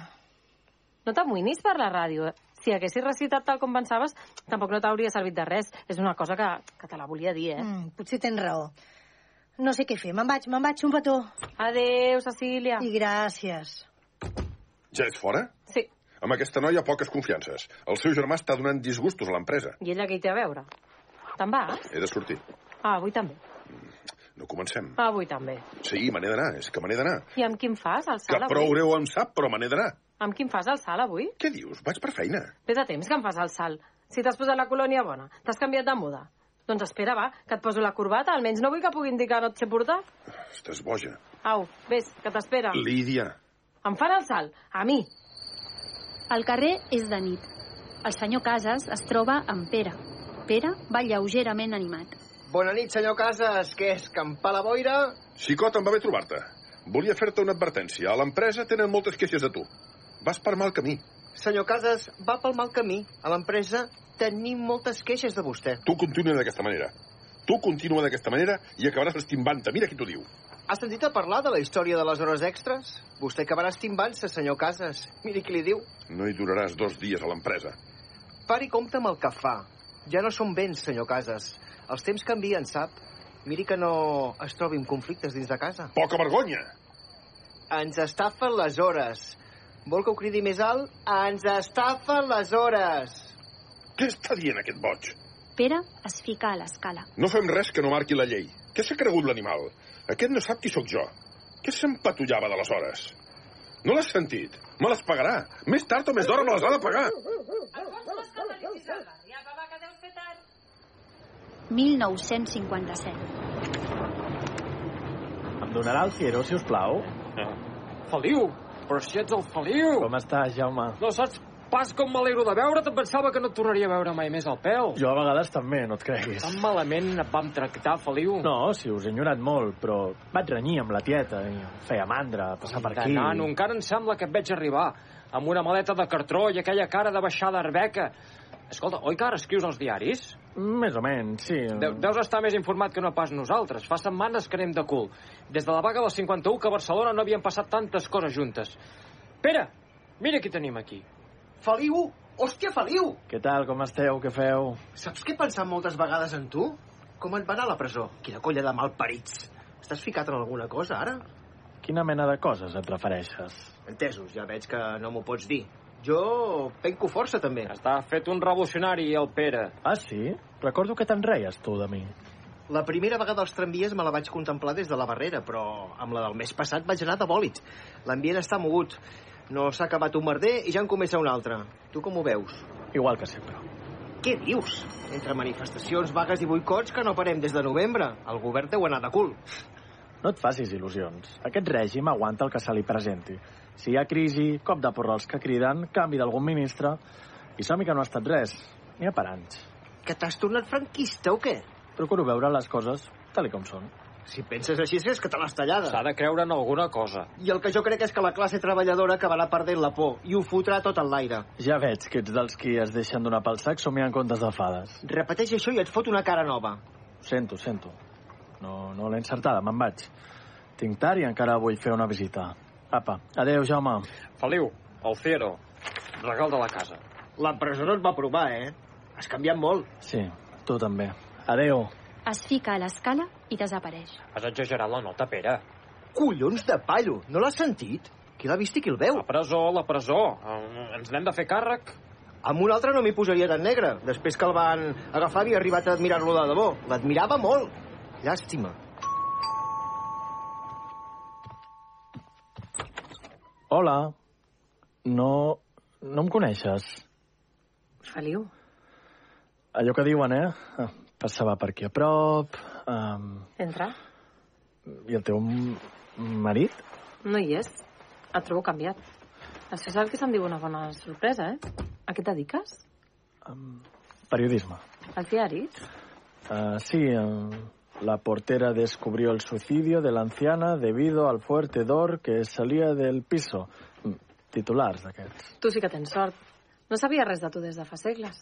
G: No t'amoïnis per la ràdio. eh? Si haguessis recitat tal com pensaves, tampoc no t'hauria servit de res. És una cosa que, que te la volia dir, eh?
F: Mm, potser tens raó. No sé què fer. Me'n vaig, me'n vaig. Un petó.
G: Adéu, Cecília.
F: I gràcies.
H: Ja ets fora?
G: Sí.
H: Amb aquesta noia, poques confiances. El seu germà està donant disgustos a l'empresa.
G: I ella què hi té a veure? Te'n vas?
H: He de sortir.
G: Ah, avui també.
H: No comencem.
G: Ah, avui també.
H: Sí, me n'he d'anar, és que me n'he d'anar.
G: I amb qui em fas el
H: Que
G: salt avui?
H: prou greu em sap, però me n'he d'anar.
G: Amb qui em fas el salt avui?
H: Què dius? Vaig per feina.
G: Ves a temps que em fas el salt. Si t'has posat la colònia bona, t'has canviat de moda. Doncs espera, va, que et poso la corbata. Almenys no vull que puguin dir que no et sé portar.
H: Estàs boja.
G: Au, vés, que
D: Ah.
G: t'espera.
H: Lídia.
G: Em fan el salt, a mi.
I: El carrer és de nit. El senyor Casas es troba amb Pere. Pere va lleugerament animat.
D: Bona nit, senyor Casas. Què és, campar la boira?
H: Xicot, em va bé trobar-te. Volia fer-te una advertència. A l'empresa tenen moltes queixes de tu. Vas per mal camí.
D: Senyor Casas, va pel mal camí. A l'empresa tenim moltes queixes de vostè.
H: Tu continua d'aquesta manera. Tu continua d'aquesta manera i acabaràs estimbant-te. Mira qui t'ho diu.
D: Ha sentit a parlar de la història de les hores extres? Vostè acabarà estimbant-se, senyor Casas. Miri qui li diu.
H: No hi duraràs dos dies a l'empresa.
D: Pari compte amb el que fa. Ja no som vents, senyor Casas. Els temps canvien, sap? Miri que no es trobin conflictes dins de casa.
H: Poca vergonya!
D: Ens estafen les hores. Vol que ho cridi més alt? Ens estafen les hores!
H: Què està dient aquest boig?
I: Pere es fica a l'escala.
H: No fem res que no marqui la llei. Què s'ha cregut l'animal? Aquest no sap qui sóc jo. Què s'empatollava de les hores? No l'has sentit? Me les pagarà. Més tard o més d'hora me les ha de pagar.
I: 1957.
E: Em donarà el Fiero, si us plau?
B: Feliu, però si ets el Feliu!
E: Com estàs, Jaume?
B: No saps pas com m'alegro de veure't, em pensava que no et tornaria a veure mai més al pèl.
E: Jo a vegades també, no et creguis.
B: Tan malament et vam tractar, Feliu.
E: No, si us he ignorat molt, però vaig renyir amb la tieta i em feia mandra passar per
B: de
E: aquí.
B: nano, encara em sembla que et veig arribar amb una maleta de cartró i aquella cara de baixada arbeca. Escolta, oi que ara escrius els diaris?
E: Més o menys, sí.
B: Deu, deus estar més informat que no pas nosaltres. Fa setmanes que anem de cul. Des de la vaga del 51 que a Barcelona no havien passat tantes coses juntes. Pere, mira qui tenim aquí.
D: Feliu! Hòstia, Feliu!
E: Què tal, com esteu, què feu?
D: Saps què he pensat moltes vegades en tu? Com et va anar a la presó? Quina colla de malparits! Estàs ficat en alguna cosa, ara?
E: Quina mena de coses et refereixes?
D: Entesos, ja veig que no m'ho pots dir. Jo penco força, també.
B: Està fet un revolucionari, el Pere.
E: Ah, sí? Recordo que te'n reies tu de mi.
D: La primera vegada als tramvies me la vaig contemplar des de la barrera, però amb la del mes passat vaig anar de bòlit. L'ambient està mogut. No s'ha acabat un merder i ja en comença un altre. Tu com ho veus?
E: Igual que sempre.
D: Què dius? Entre manifestacions, vagues i boicots que no parem des de novembre. El govern deu anar de cul.
E: No et facis il·lusions. Aquest règim aguanta el que se li presenti. Si hi ha crisi, cop de porra als que criden, canvi d'algun ministre... I som que no ha estat res. N'hi ha per anys.
D: Que t'has tornat franquista o què?
E: Procuro veure les coses tal i com són.
D: Si penses així, és que te l'has tallada.
B: S'ha de creure en alguna cosa.
D: I el que jo crec és que la classe treballadora acabarà perdent la por i ho fotrà tot en l'aire.
E: Ja veig que ets dels qui es deixen donar pel sac somiant contes de fades.
D: Repeteix això i et fot una cara nova.
E: Sento, sento. No, no l'he encertada, me'n vaig. Tinc tard i encara vull fer una visita. Apa, adeu, Jaume.
B: Feliu, Alfiero, regal de la casa.
D: La presó no et va provar, eh? Has canviat molt.
E: Sí, tu també. Adeu.
I: Es fica a l'escala i desapareix.
B: Has exagerat la nota, Pere.
D: Collons de pallo! No l'has sentit? Qui l'ha vist i qui el veu?
B: La presó, la presó. Eh, Ens n'hem de fer càrrec.
D: Amb un altre no m'hi posaria tan negre. Després que el van agafar havia arribat a admirar-lo de debò. L'admirava molt. Llàstima.
E: Hola. No... no em coneixes.
G: Feliu.
E: Allò que diuen, eh? Ah, Passava per aquí a prop... Um,
G: Entra.
E: I el teu m- marit?
G: No hi és. Et trobo canviat. Això és el que se'n diu una bona sorpresa, eh? A què et dediques?
E: Periodisme.
G: Al diari?
E: Ah, sí, eh, la portera descubrió el suicidio de la anciana debido al fuerte dor que salía del piso. Mm, Titulars d'aquests.
G: Tu sí que tens sort. No sabia res de tu des de fa segles.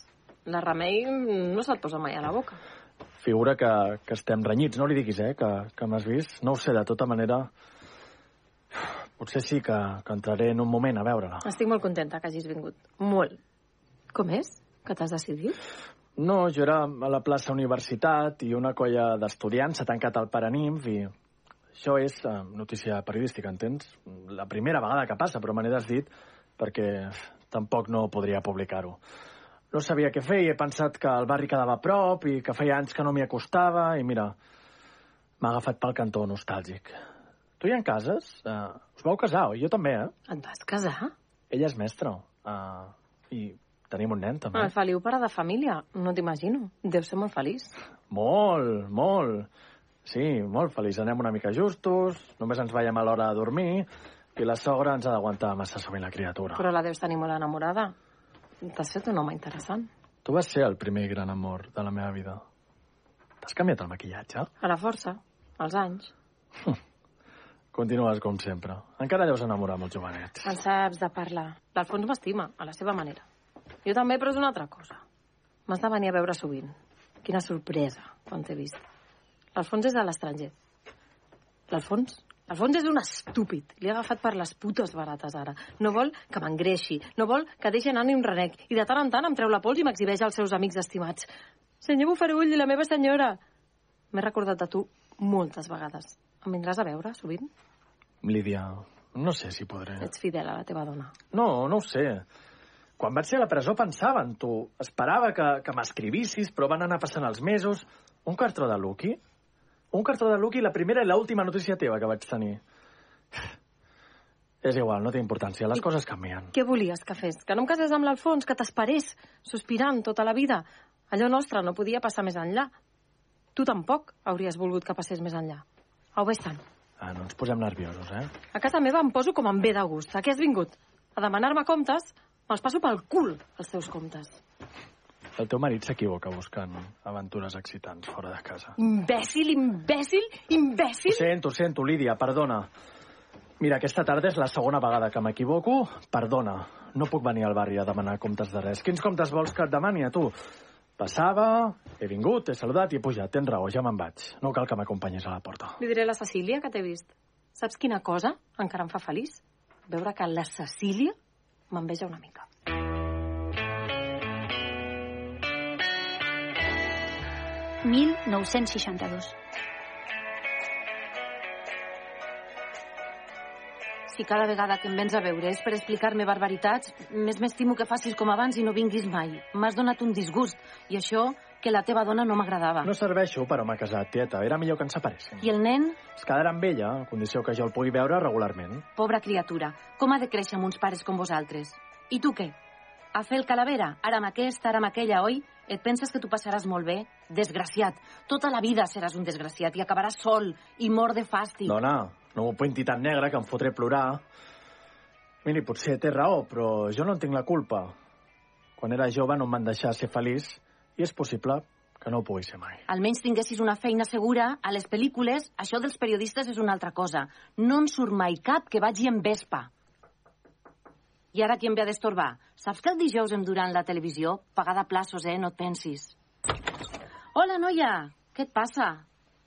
G: La remei mm, no se't posa mai a la boca.
E: Figura que, que estem renyits, no li diguis, eh, que, que m'has vist. No ho sé, de tota manera... Potser sí que, que entraré en un moment a veure-la.
G: Estic molt contenta que hagis vingut. Molt. Com és? Que t'has decidit?
E: No, jo era a la plaça Universitat i una colla d'estudiants s'ha tancat al Paranimf i això és eh, notícia periodística, entens? La primera vegada que passa, però me n'he desdit perquè tampoc no podria publicar-ho. No sabia què fer i he pensat que el barri quedava a prop i que feia anys que no m'hi acostava i mira, m'ha agafat pel cantó nostàlgic. Tu hi en cases? Uh, us vau casar, oi? Jo també, eh?
G: Et vas casar?
E: Ella és mestra. Uh, I tenim un nen, també.
G: El Feliu pare de família. No t'imagino. Deu ser molt feliç.
E: Molt, molt. Sí, molt feliç. Anem una mica justos, només ens veiem a l'hora de dormir i la sogra ens ha d'aguantar massa sovint la criatura.
G: Però la deus tenir molt enamorada. T'has fet un home interessant.
E: Tu vas ser el primer gran amor de la meva vida. T'has canviat el maquillatge?
G: A la força, als anys.
E: Continues com sempre. Encara deus enamorar molt jovenet.
G: En saps de parlar. L'Alfons m'estima, a la seva manera. Jo també, però és una altra cosa. M'has de venir a veure sovint. Quina sorpresa, quan t'he vist. L'Alfons és de l'estranger. L'Alfons? L'Alfons és un estúpid. L'he agafat per les putes barates, ara. No vol que m'engreixi. No vol que deixi anar ni un renec. I de tant en tant em treu la pols i m'exhibeix als seus amics estimats. Senyor Bufarull i la meva senyora. M'he recordat de tu moltes vegades. Em vindràs a veure, sovint?
E: Lídia, no sé si podré...
G: Ets fidel a la teva dona.
E: No, no ho sé. Quan vaig ser a la presó pensava en tu. Esperava que, que m'escrivissis, però van anar passant els mesos. Un cartró de Lucky? Un cartró de Lucky, la primera i l'última notícia teva que vaig tenir. És igual, no té importància. Les coses canvien.
G: Què volies que fes? Que no em casés amb l'Alfons, que t'esperés, sospirant tota la vida. Allò nostre no podia passar més enllà. Tu tampoc hauries volgut que passés més enllà. Au, vés tant.
E: Ah, no ens posem nerviosos, eh?
G: A casa meva em poso com em ve de gust. A què has vingut? A demanar-me comptes? Me'ls passo pel cul, els teus comptes.
E: El teu marit s'equivoca buscant aventures excitants fora de casa.
G: Imbècil, imbècil, imbècil!
E: Ho sento, ho sento, Lídia, perdona. Mira, aquesta tarda és la segona vegada que m'equivoco. Perdona, no puc venir al barri a demanar comptes de res. Quins comptes vols que et demani a tu? Passava, he vingut, he saludat i he pujat. Tens raó, ja me'n vaig. No cal que m'acompanyis a la porta.
G: Li diré a la Cecília que t'he vist. Saps quina cosa encara em fa feliç? Veure que la Cecília m'enveja una mica.
I: Pere. 1962.
C: Si cada vegada que em vens a veure és per explicar-me barbaritats, més m'estimo que facis com abans i no vinguis mai. M'has donat un disgust, i això que la teva dona no m'agradava.
E: No serveixo per home casat, tieta. Era millor que ens separéssim.
C: I el nen,
E: Es quedarà amb ella, a condició que jo el pugui veure regularment.
C: pobra criatura, com ha de créixer amb uns pares com vosaltres? I tu què? A fer el calavera, ara amb aquesta, ara amb aquella, oi? Et penses que tu passaràs molt bé? Desgraciat. Tota la vida seràs un desgraciat i acabaràs sol i mort de fàstic.
E: Dona, no m'ho pinti tan negre que em fotré plorar. Miri, potser té raó, però jo no en tinc la culpa. Quan era jove no em van deixar ser feliç i és possible que que no ho pugui ser mai.
C: Almenys tinguessis una feina segura, a les pel·lícules, això dels periodistes és una altra cosa. No en surt mai cap que vagi en vespa. I ara qui em ve a destorbar? Saps que el dijous em duran la televisió? Pagada a plaços, eh? No et pensis. Hola, noia! Què et passa?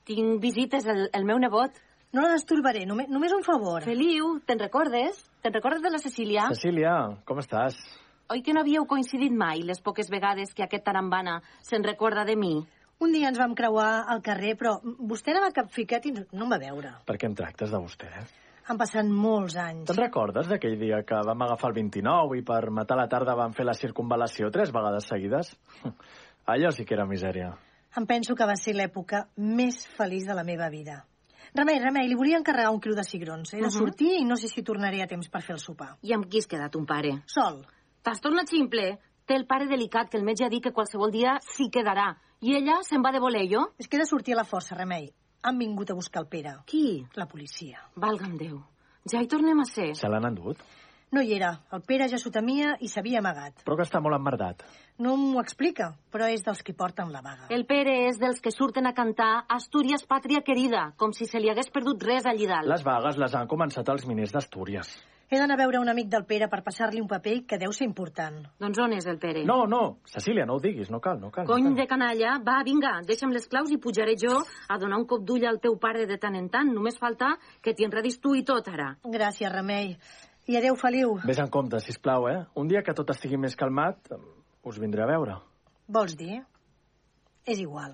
C: Tinc visites, el, el meu nebot.
F: No la destorbaré, només, només un favor.
C: Feliu, te'n recordes? Te'n recordes de la Cecília?
E: Cecília, com estàs?
C: Oi que no havíeu coincidit mai les poques vegades que aquest tarambana se'n recorda de mi?
F: Un dia ens vam creuar al carrer, però vostè anava capficat i no em va veure.
E: Per què em tractes de vostè?
F: Han passat molts anys.
E: Te'n recordes d'aquell dia que vam agafar el 29 i per matar la tarda vam fer la circunvalació tres vegades seguides? Allò sí que era misèria.
F: Em penso que va ser l'època més feliç de la meva vida. Remei, remei, li volia encarregar un quilo de cigrons. He de
C: Mhm.
F: sortir i no sé si tornaré a temps per fer el sopar.
C: I amb qui has quedat, un pare?
F: Sol.
C: T'has tornat ximple? Té el pare delicat, que el metge ha dit que qualsevol dia s'hi quedarà. I ella se'n va de voleio?
F: És que he de sortir a la força, Remei. Han vingut a buscar el Pere.
C: Qui?
F: La policia.
C: Valga'm Déu. Ja hi tornem a ser.
E: Se l'han endut?
F: No hi era. El Pere ja s'ho temia i s'havia amagat.
E: Però que està molt emmerdat.
F: No m'ho explica, però és dels que porten la vaga.
C: El Pere és dels que surten a cantar Astúries, pàtria querida, com si se li hagués perdut res allí dalt.
E: Les vagues les han començat els miners d'Astúries.
F: He d'anar a veure un amic del Pere per passar-li un paper que deu ser important.
C: Doncs on és el Pere?
E: No, no, Cecília, no ho diguis, no cal, no cal.
C: Cony
E: no cal.
C: de canalla, va, vinga, deixa'm les claus i pujaré jo a donar un cop d'ull al teu pare de tant en tant. Només falta que t'hi enredis tu i tot, ara.
F: Gràcies, Remei. I adeu, Feliu.
E: Ves en compte, si plau, eh? Un dia que tot estigui més calmat, eh, us vindré a veure.
F: Vols dir? És igual.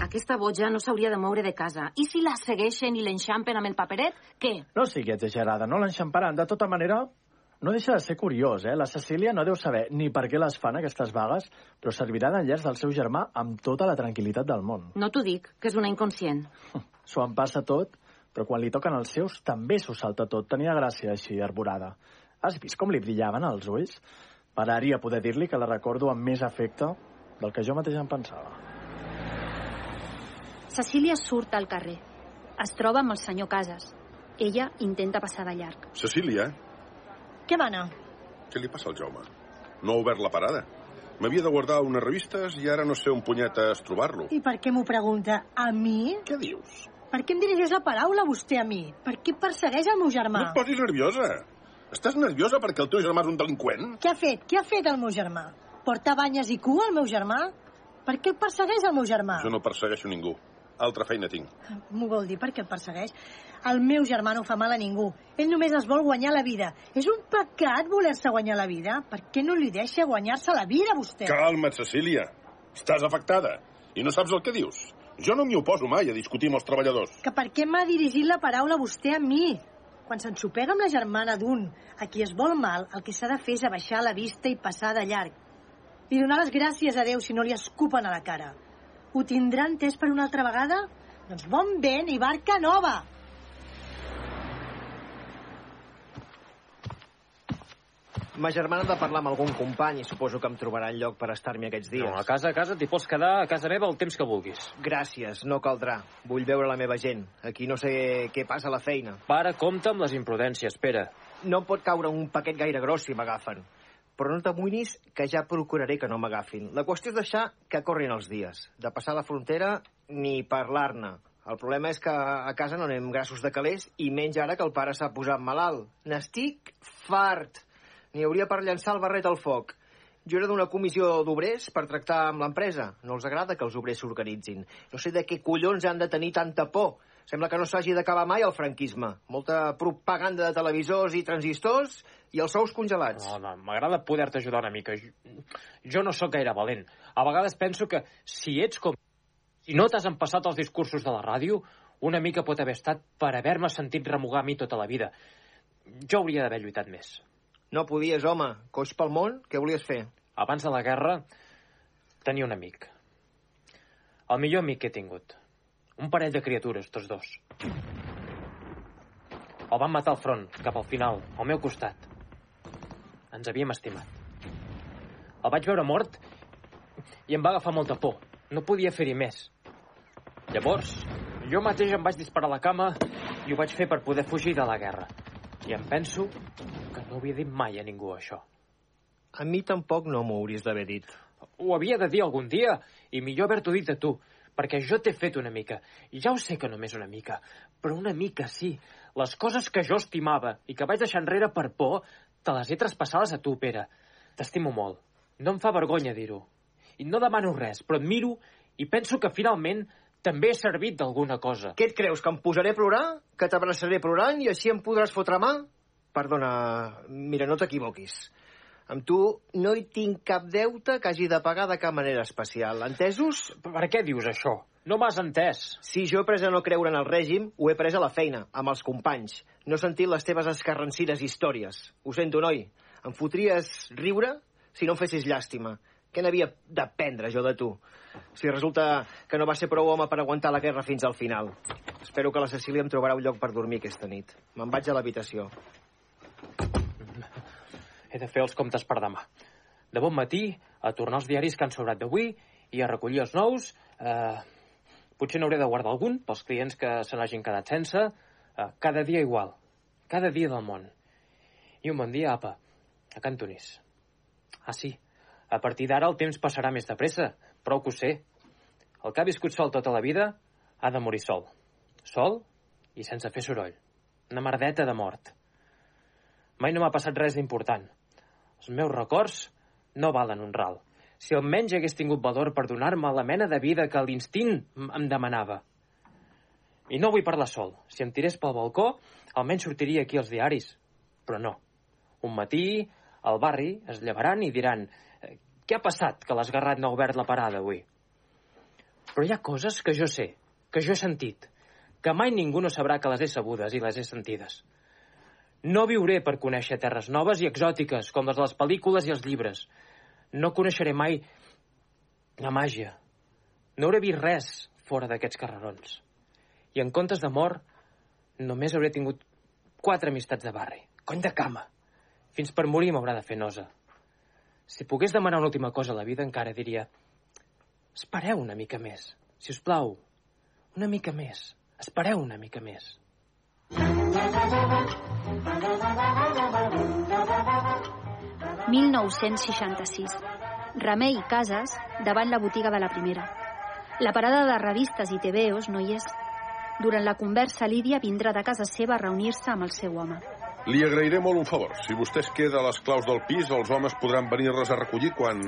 C: Aquesta boja no s'hauria de moure de casa. I si la segueixen i l'enxampen amb el paperet, què?
E: No sigui exagerada, no l'enxamparan. De tota manera, no deixa de ser curiós, eh? La Cecília no deu saber ni per què les fan aquestes vagues, però servirà d'enllaç del seu germà amb tota la tranquil·litat del món.
C: No t'ho dic, que és una inconscient.
E: S'ho en passa tot, però quan li toquen els seus també s'ho salta tot. Tenia gràcia així, arborada. Has vist com li brillaven els ulls? Pararia poder dir-li que la recordo amb més afecte del que jo mateix em pensava.
I: Cecília surt al carrer. Es troba amb el senyor Casas. Ella intenta passar de llarg.
H: Cecília,
F: Què va anar?
H: què li passa al Jaume? No ha obert la parada. M'havia de guardar unes revistes i ara no sé on punyetes trobar-lo.
F: I per què m'ho pregunta? A mi?
H: Què dius?
F: Per què em dirigeix la paraula vostè a mi? Per què persegueix el meu germà?
H: No et posis nerviosa. Estàs nerviosa perquè el teu germà és un delinqüent?
F: Què ha fet? Què ha fet el meu germà? Portar banyes i cua al meu germà? Per què el persegueix el meu germà?
H: Jo no persegueixo ningú. Altra feina tinc.
F: M'ho vol dir per què el persegueix? El meu germà no fa mal a ningú. Ell només es vol guanyar la vida. És un pecat voler-se guanyar la vida. Per què no li deixa guanyar-se la vida, vostè?
H: Calma't, Cecília. Estàs afectada. I no saps el que dius. Jo no m'hi oposo mai a discutir amb els treballadors.
F: Que per què m'ha dirigit la paraula vostè a mi? Quan s'ensopega amb la germana d'un a qui es vol mal, el que s'ha de fer és abaixar la vista i passar de llarg. I donar les gràcies a Déu si no li escupen a la cara. Ho tindrà entès per una altra vegada? Doncs bon vent i barca nova!
D: Ma germana ha de parlar amb algun company i suposo que em trobarà lloc per estar-me aquests dies.
B: No, a casa, a casa, t'hi pots quedar a casa meva el temps que vulguis.
D: Gràcies, no caldrà. Vull veure la meva gent. Aquí no sé què passa a la feina.
B: Para, compte amb les imprudències, Pere.
D: No em pot caure un paquet gaire gros si m'agafen. Però no t'amoïnis, que ja procuraré que no m'agafin. La qüestió és deixar que corrin els dies. De passar la frontera, ni parlar-ne. El problema és que a casa no anem grassos de calés i menys ara que el pare s'ha posat malalt. N'estic fart. N'hi hauria per llançar el barret al foc. Jo era d'una comissió d'obrers per tractar amb l'empresa. No els agrada que els obrers s'organitzin. No sé de què collons han de tenir tanta por. Sembla que no s'hagi d'acabar mai el franquisme. Molta propaganda de televisors i transistors i els sous congelats.
B: No, no, m'agrada poder-te ajudar una mica. Jo, jo no sóc gaire valent. A vegades penso que si ets com... Si no t'has empassat els discursos de la ràdio, una mica pot haver estat per haver-me sentit remugar a mi tota la vida. Jo hauria d'haver lluitat més.
D: No podies, home. Coix pel món, què volies fer?
B: Abans de la guerra, tenia un amic. El millor amic que he tingut. Un parell de criatures, tots dos. El van matar al front, cap al final, al meu costat. Ens havíem estimat. El vaig veure mort i em va agafar molta por. No podia fer-hi més. Llavors, jo mateix em vaig disparar a la cama i ho vaig fer per poder fugir de la guerra. I em penso que no havia dit mai a ningú això.
D: A mi tampoc no m'ho hauries d'haver dit.
B: Ho havia de dir algun dia, i millor haver-t'ho dit a tu, perquè jo t'he fet una mica. Ja ho sé que només una mica, però una mica sí. Les coses que jo estimava i que vaig deixar enrere per por, te les he traspassades a tu, Pere. T'estimo molt. No em fa vergonya dir-ho. I no demano res, però et miro i penso que finalment també he servit d'alguna cosa.
D: Què et creus, Doncs que em posaré a plorar? Que t'abraçaré plorant i així em podràs fotre mà? Perdona, mira, no t'equivoquis. Amb tu no hi tinc cap deute que hagi de pagar de cap manera especial. Entesos?
B: Per què dius això? No m'has entès.
D: Si jo he pres a no creure en el règim, ho he pres a la feina, amb els companys. No he sentit les teves escarrancires històries. Ho sento, noi. Em fotries riure si no em fessis llàstima. Què n'havia d'aprendre jo de tu? Si resulta que no va ser prou home per aguantar la guerra fins al final. Espero que la Cecília em trobarà un lloc per dormir aquesta nit. Me'n vaig a l'habitació.
B: He de fer els comptes per demà. De bon matí, a tornar els diaris que han sobrat d'avui i a recollir els nous. Eh, potser n'hauré de guardar algun pels clients que se n'hagin quedat sense. Eh, cada dia igual. Cada dia del món. I un bon dia, apa, a Cantonís. Ah, sí. A partir d'ara el temps passarà més de pressa, prou que ho sé. El que ha viscut sol tota la vida ha de morir sol. Sol i sense fer soroll. Una merdeta de mort. Mai no m'ha passat res important. Els meus records no valen un ral. Si almenys hagués tingut valor per donar-me la mena de vida que l'instint m- em demanava. I no vull parlar sol. Si em tirés pel balcó, almenys sortiria aquí als diaris. Però no. Un matí, al barri, es llevaran i diran "Eh, què ha passat que l'esgarrat no ha obert la parada avui? Però hi ha coses que jo sé, que jo he sentit, que mai ningú no sabrà que les he sabudes i les he sentides. No viuré per conèixer terres noves i exòtiques, com les de les pel·lícules i els llibres. No coneixeré mai la màgia. No hauré vist res fora d'aquests carrerons. I en comptes d'amor, només hauré tingut quatre amistats de barri. Cony de cama! Fins per morir m'haurà de fer nosa. Si pogués demanar una última cosa a la vida, encara diria... Espereu una mica més, si us plau. Una mica més. Espereu una mica més.
I: Thank you.
M: 1966.
I: Remei i Casas davant la botiga de la primera. La parada de revistes i TVOs no hi és. Durant la conversa, Lídia vindrà de casa seva a reunir-se amb el seu home.
H: Li agrairé molt un favor. Si vostè es queda les claus del pis, els homes podran venir-les a recollir quan,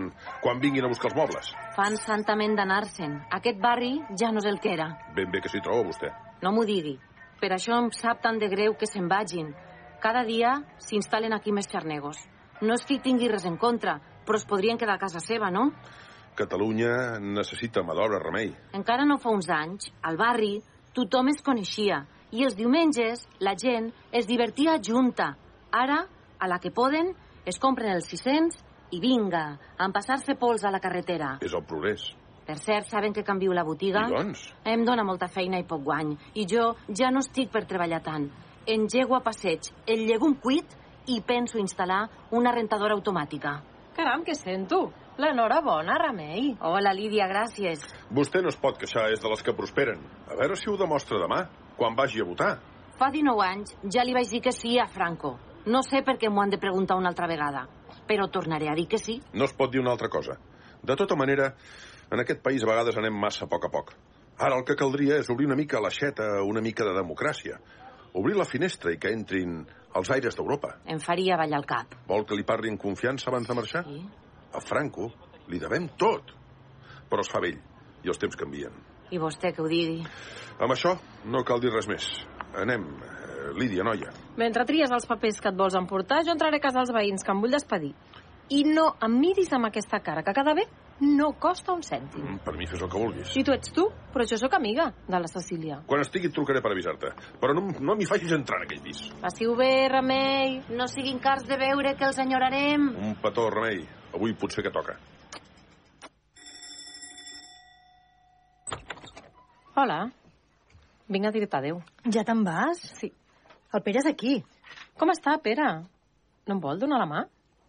H: quan vinguin a buscar els mobles.
C: Fan santament d'anar-se'n. Aquest barri ja no és el que era.
H: Ben bé que s'hi troba, vostè.
C: No m'ho digui. Per això em sap tan de greu que se'n vagin. Cada dia s'instal·len aquí més xarnegos. No és que hi tingui res en contra, però es podrien quedar a casa seva, no?
H: Catalunya necessita mà d'obra, remei.
C: Encara no fa uns anys, al barri, tothom es coneixia i els diumenges la gent es divertia junta. Ara, a la que poden, es compren els 600 i vinga, a empassar-se pols a la carretera.
H: És el progrés.
C: Per cert, saben que canvio la botiga?
H: I doncs?
C: Em dóna molta feina i poc guany. I jo ja no estic per treballar tant. Engego a passeig el llegum cuit i penso instal·lar una rentadora automàtica.
G: Caram, què sento? L'enhorabona, Remei.
C: Hola, Lídia, gràcies.
H: Vostè no es pot queixar, és de les que prosperen. A veure si ho demostra demà, quan vagi a votar.
C: Fa 19 anys ja li vaig dir que sí a Franco. No sé per què m'ho han de preguntar una altra vegada, però tornaré a dir que sí.
H: No es pot dir una altra cosa. De tota manera, en aquest país a vegades anem massa a poc a poc. Ara el que caldria és obrir una mica l'aixeta, una mica de democràcia. Obrir la finestra i que entrin els aires d'Europa.
C: Em faria ballar el cap.
H: Vol que li parli en confiança abans de marxar? Sí. A Franco li devem tot. Però es fa vell i els temps canvien.
C: I vostè que ho digui.
H: Amb això no cal dir res més. Anem, eh, Lídia, noia.
G: Mentre tries els papers que et vols emportar, jo entraré a casa dels veïns, que em vull despedir. I no em miris amb aquesta cara, que cada bé no costa un cèntim.
H: Mm, Per mi fes el que vulguis.
G: I tu ets tu, però jo sóc amiga de la Cecília.
H: Quan estigui et trucaré per avisar-te. Però no, no m'hi facis entrar en aquell pis.
C: Passiu bé, Remei. No siguin cars de veure que els enyorarem.
H: Un petó, remei. Avui potser que toca.
G: Hola. Vinc a dir-te adéu.
F: Ja te'n vas?
G: Sí.
F: El Pere és aquí.
G: Com està, Pere? No em vol donar la mà?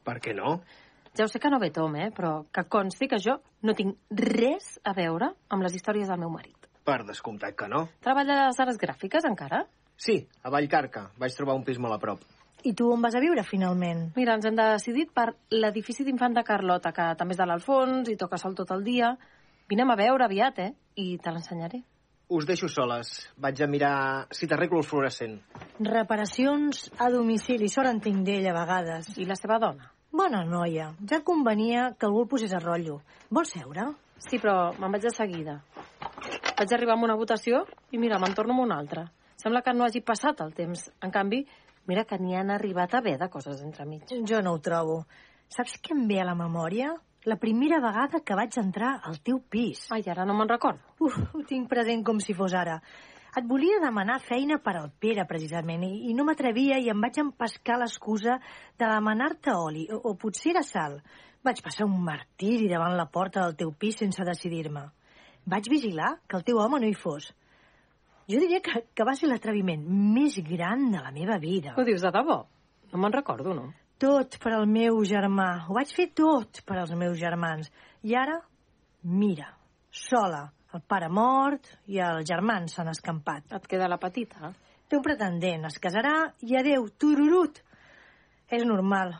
D: Per què no?
G: Ja ho sé que no ve Tom, eh? Però que consti que jo no tinc res a veure amb les històries del meu marit.
D: Per descomptat que no.
G: Treballa a les hores gràfiques, encara?
D: Sí, a Vallcarca. Vaig trobar un pis molt a prop.
F: I tu on vas a viure, finalment?
G: Mira, ens hem decidit per l'edifici d'Infanta Carlota, que també és de l'Alfons i toca sol tot el dia. Vinem a veure aviat, eh? I te l'ensenyaré.
D: Us deixo soles. Vaig a mirar si t'arreglo el fluorescent.
F: Reparacions a domicili. Sort en tinc d'ell, a vegades.
G: I la seva dona?
F: Bona noia. Ja et convenia que algú el posés a rotllo. Vols seure?
G: Sí, però me'n vaig de seguida. Vaig arribar amb una votació i mira, me'n torno amb una altra. Sembla que no hagi passat el temps. En canvi, mira que n'hi han arribat a haver de coses entremig.
F: Jo no ho trobo. Saps què em ve a la memòria? La primera vegada que vaig entrar al teu pis.
G: Ai, ara no me'n recordo.
F: Uf, ho tinc present com si fos ara. Et volia demanar feina per al Pere, precisament, i, i no m'atrevia i em vaig empescar l'excusa de demanar-te oli, o, o potser era sal. Vaig passar un martiri davant la porta del teu pis sense decidir-me. Vaig vigilar que el teu home no hi fos. Jo diria que, que va ser l'atreviment més gran de la meva vida.
G: Ho dius de debò? No me'n recordo, no?
F: Tot per al meu germà. Ho vaig fer tot per als meus germans. I ara, mira, sola. El pare mort i els germans s'han escampat.
G: Et queda la petita.
F: Té un pretendent, es casarà i adeu, tururut. És normal,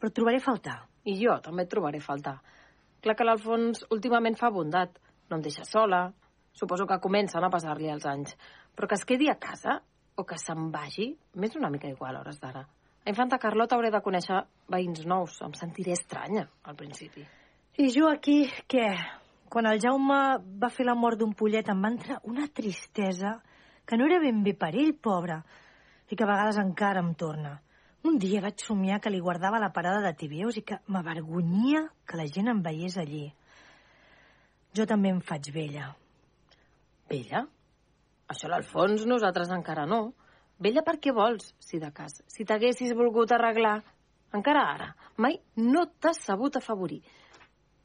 F: però et trobaré a faltar.
G: I jo també et trobaré a faltar. Clar que l'Alfons últimament fa bondat. No em deixa sola, Suposo que comencen a passar-li els anys. Però que es quedi a casa o que se'n vagi, m'és una mica igual a hores d'ara. A Infanta Carlota hauré de conèixer veïns nous. Em sentiré estranya, al principi.
F: I jo aquí, què? Quan el Jaume va fer la mort d'un pollet em va entrar una tristesa que no era ben bé per ell, pobre, i que a vegades encara em torna. Un dia vaig somiar que li guardava la parada de Tibius i que m'avergonyia que la gent em veiés allí. Jo també em faig vella.
G: Vella? Això l'Alfons nosaltres encara no. Vella per què vols, si de cas? Si t'haguessis volgut arreglar, encara ara, mai no t'has sabut afavorir.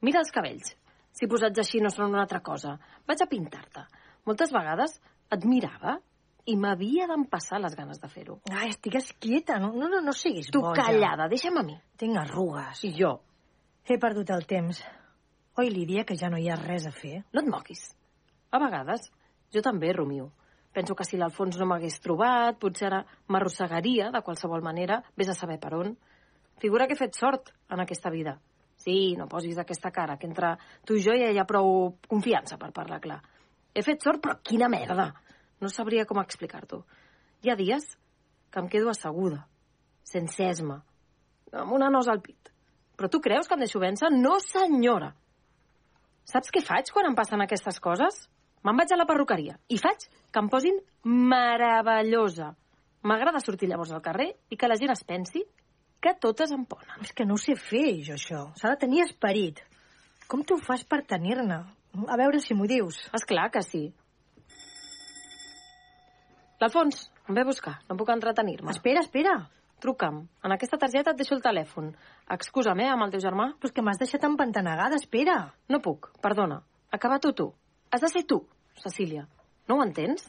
G: Mira els cabells. Si posats així no són una altra cosa. Vaig a pintar-te. Moltes vegades et mirava i m'havia d'empassar les ganes de fer-ho.
F: Ai, Ah, estigues quieta, no, no, no, no siguis
G: tu
F: boja.
G: callada, deixa'm a mi.
F: Tinc arrugues.
G: I jo?
F: He perdut el temps. Oi, Lídia, que ja no hi ha res a fer?
G: No et moquis. A vegades, jo també rumio. Penso que si l'Alfons no m'hagués trobat, potser ara m'arrossegaria de qualsevol manera, vés a saber per on. Figura que he fet sort en aquesta vida. Sí, no posis aquesta cara, que entre tu i jo ja hi ha prou confiança per parlar clar. He fet sort, però quina merda! No sabria com explicar-t'ho. Hi ha dies que em quedo asseguda, sense esma, amb una nos al pit. Però tu creus que em deixo vèncer? No, senyora! Saps què faig quan em passen aquestes coses? Me'n vaig a la perruqueria i faig que em posin meravellosa. M'agrada sortir llavors al carrer i que la gent es pensi que totes em ponen.
F: És que no ho sé fer, jo, això. S'ha de tenir esperit. Com tu fas per tenir-ne? A veure si m'ho dius.
G: És clar que sí. L'Alfons, em ve a buscar. No puc entretenir-me.
F: Espera, espera.
G: Truca'm. En aquesta targeta et deixo el telèfon. Excusa'm, eh, amb el teu germà.
F: Però és que m'has deixat empantanegada, espera.
G: No puc, perdona. Acaba-t'ho tu. Has de ser tu, Cecília. No ho entens?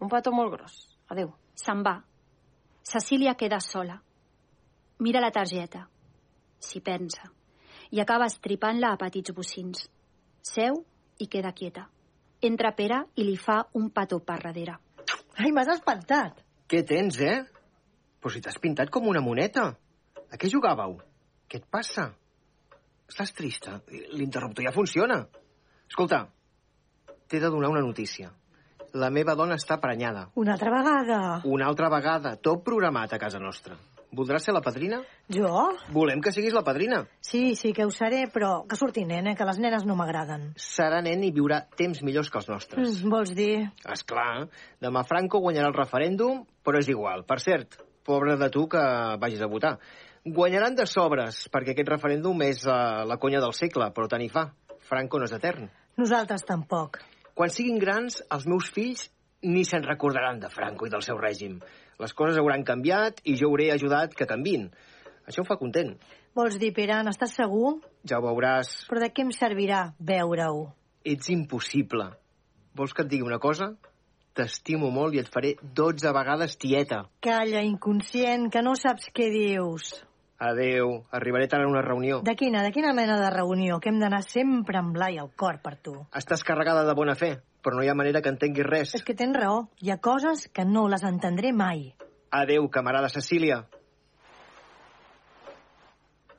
G: Un petó molt gros. Adeu.
M: Se'n va. Cecília queda sola. Mira la targeta. S'hi pensa. I acaba estripant-la a petits bocins. Seu i queda quieta. Entra Pere i li fa un petó per darrere.
F: Ai, m'has espantat.
D: Què tens, eh? Però si t'has pintat com una moneta. A què jugàveu? Què et passa? Estàs trista? L'interruptor ja funciona. Escolta, t'he de donar una notícia. La meva dona està prenyada.
F: Una altra vegada.
D: Una altra vegada, tot programat a casa nostra. Voldràs ser la padrina?
F: Jo?
D: Volem que siguis la padrina.
F: Sí, sí, que ho seré, però que surti nena, que les nenes no m'agraden.
D: Serà nen i viurà temps millors que els nostres.
F: Mm, vols dir?
D: És clar, demà Franco guanyarà el referèndum, però és igual. Per cert, pobre de tu que vagis a votar. Guanyaran de sobres, perquè aquest referèndum és uh, la conya del segle, però tant hi fa. Franco no és etern.
F: Nosaltres tampoc.
D: Quan siguin grans, els meus fills ni se'n recordaran de Franco i del seu règim. Les coses hauran canviat i jo hauré ajudat que canvin. Això em fa content.
F: Vols dir, Pere, n'estàs segur?
D: Ja ho veuràs.
F: Però de què em servirà veure-ho?
D: Ets impossible. Vols que et digui una cosa? T'estimo molt i et faré 12 vegades tieta.
F: Calla, inconscient, que no saps què dius.
D: Adeu, arribaré tard a una reunió.
F: De quina, de quina mena de reunió? Que hem d'anar sempre amb l'ai al cor per tu.
D: Estàs carregada de bona fe, però no hi ha manera que entenguis res.
F: És que tens raó. Hi ha coses que no les entendré mai.
D: Adeu, camarada Cecília.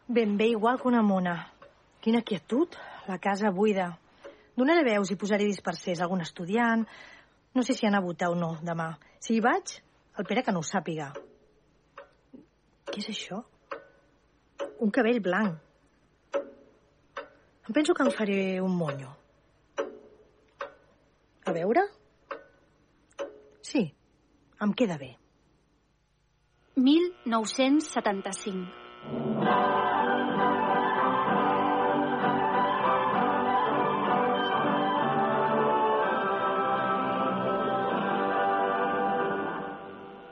F: Ben bé igual que una mona. Quina quietud, la casa buida. Donaré veus i posaré dispersers algun estudiant. No sé si han a votar o no demà. Si hi vaig, el Pere que no ho sàpiga. Què és això? Un cabell blanc. Em penso que em faré un monyo. A veure? Sí, em queda bé.
I: 1975.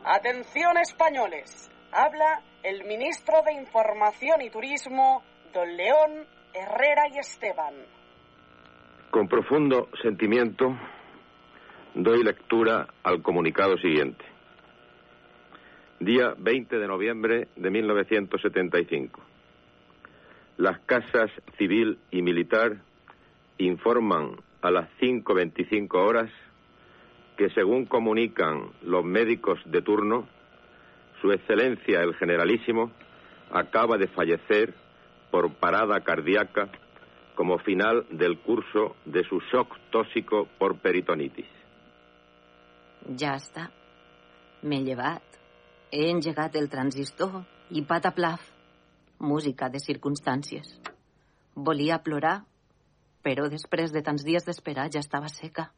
L: Atención españoles. Habla el ministro de Información y Turismo, don León Herrera y Esteban.
N: Con profundo sentimiento doy lectura al comunicado siguiente. Día 20 de noviembre de 1975. Las casas civil y militar informan a las 5.25 horas que según comunican los médicos de turno, Su Excelencia el Generalísimo acaba de fallecer por parada cardíaca como final del curso de su shock tóxico por peritonitis.
C: Ja està. M'he llevat. He engegat el transistor i pataplaf. Música de circumstàncies. Volia plorar, però després de tants dies d'esperar ja estava seca.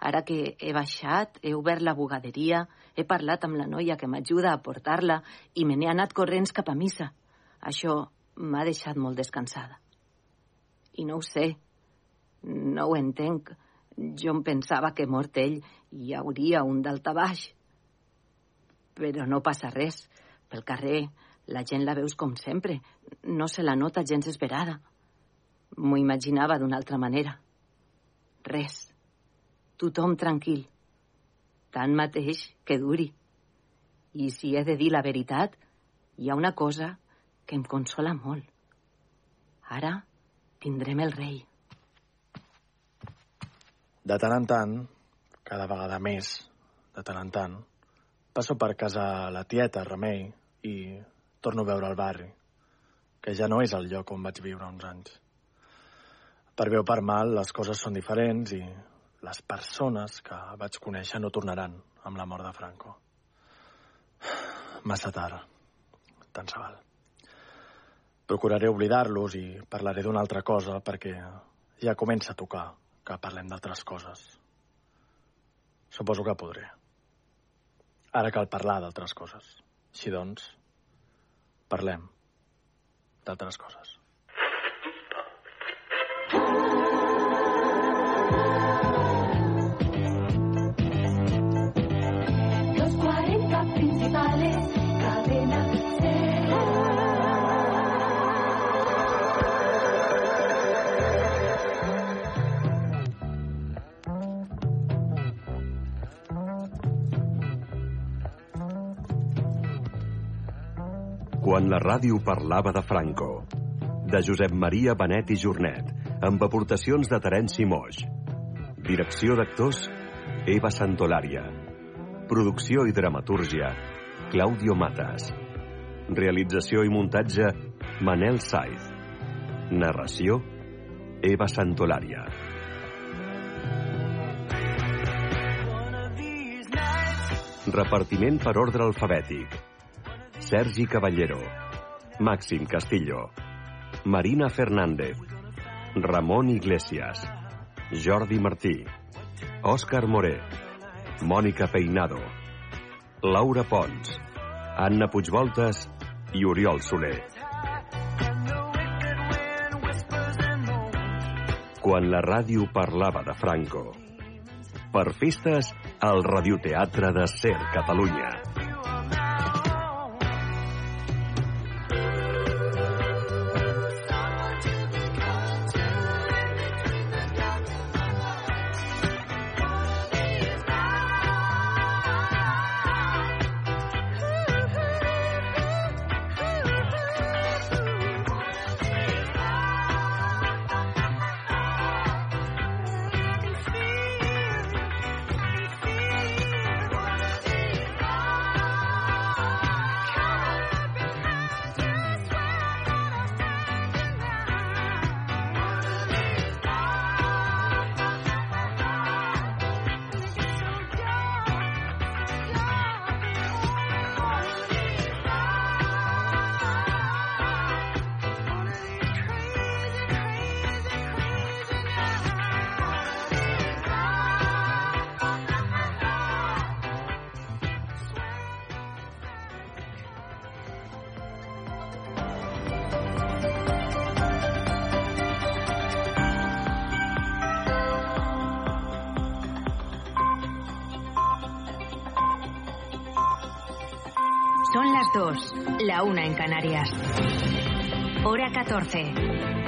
C: Ara que he baixat, he obert la bugaderia, he parlat amb la noia que m'ajuda a portar-la i me n'he anat corrents cap a missa. Això m'ha deixat molt descansada. I no ho sé, no ho entenc. Jo em pensava que mort ell hi hauria un daltabaix. Però no passa res. Pel carrer la gent la veus com sempre. No se la nota gens esperada. M'ho imaginava d'una altra manera. Res. Tothom tranquil. Tant mateix que duri. I si he de dir la veritat, hi ha una cosa que em consola molt. Ara tindrem el rei.
E: De tant en tant, cada vegada més, de tant en tant, passo per casa la tieta Remei i torno a veure el barri, que ja no és el lloc on vaig viure uns anys. Per bé o per mal, les coses són diferents i les persones que vaig conèixer no tornaran amb la mort de Franco. Massa tard. Tant se val. Procuraré oblidar-los i parlaré d'una altra cosa perquè ja comença a tocar que parlem d'altres coses. Suposo que podré. Ara cal parlar d'altres coses. Així doncs, parlem d'altres coses.
O: Los 40 principales, cadena
P: Quan la ràdio parlava de Franco, de Josep Maria Benet i Jornet, amb aportacions de Terenci Moix. Direcció d'actors, Eva Santolària. Producció i dramatúrgia, Claudio Matas. Realització i muntatge, Manel Saiz. Narració, Eva Santolària. Repartiment per ordre alfabètic. Sergi Caballero, Màxim Castillo, Marina Fernández, Ramon Iglesias, Jordi Martí, Òscar Moré, Mònica Peinado, Laura Pons, Anna Puigvoltes i Oriol Soler. Quan la ràdio parlava de Franco. Per festes, al Radioteatre de Ser Catalunya.
O: Thank you.
I: Son las 2, la 1 en Canarias. Hora 14,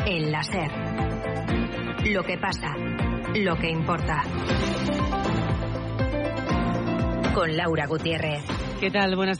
I: en la SER. Lo que pasa, lo que importa. Con Laura Gutiérrez.
F: ¿Qué tal? Buenas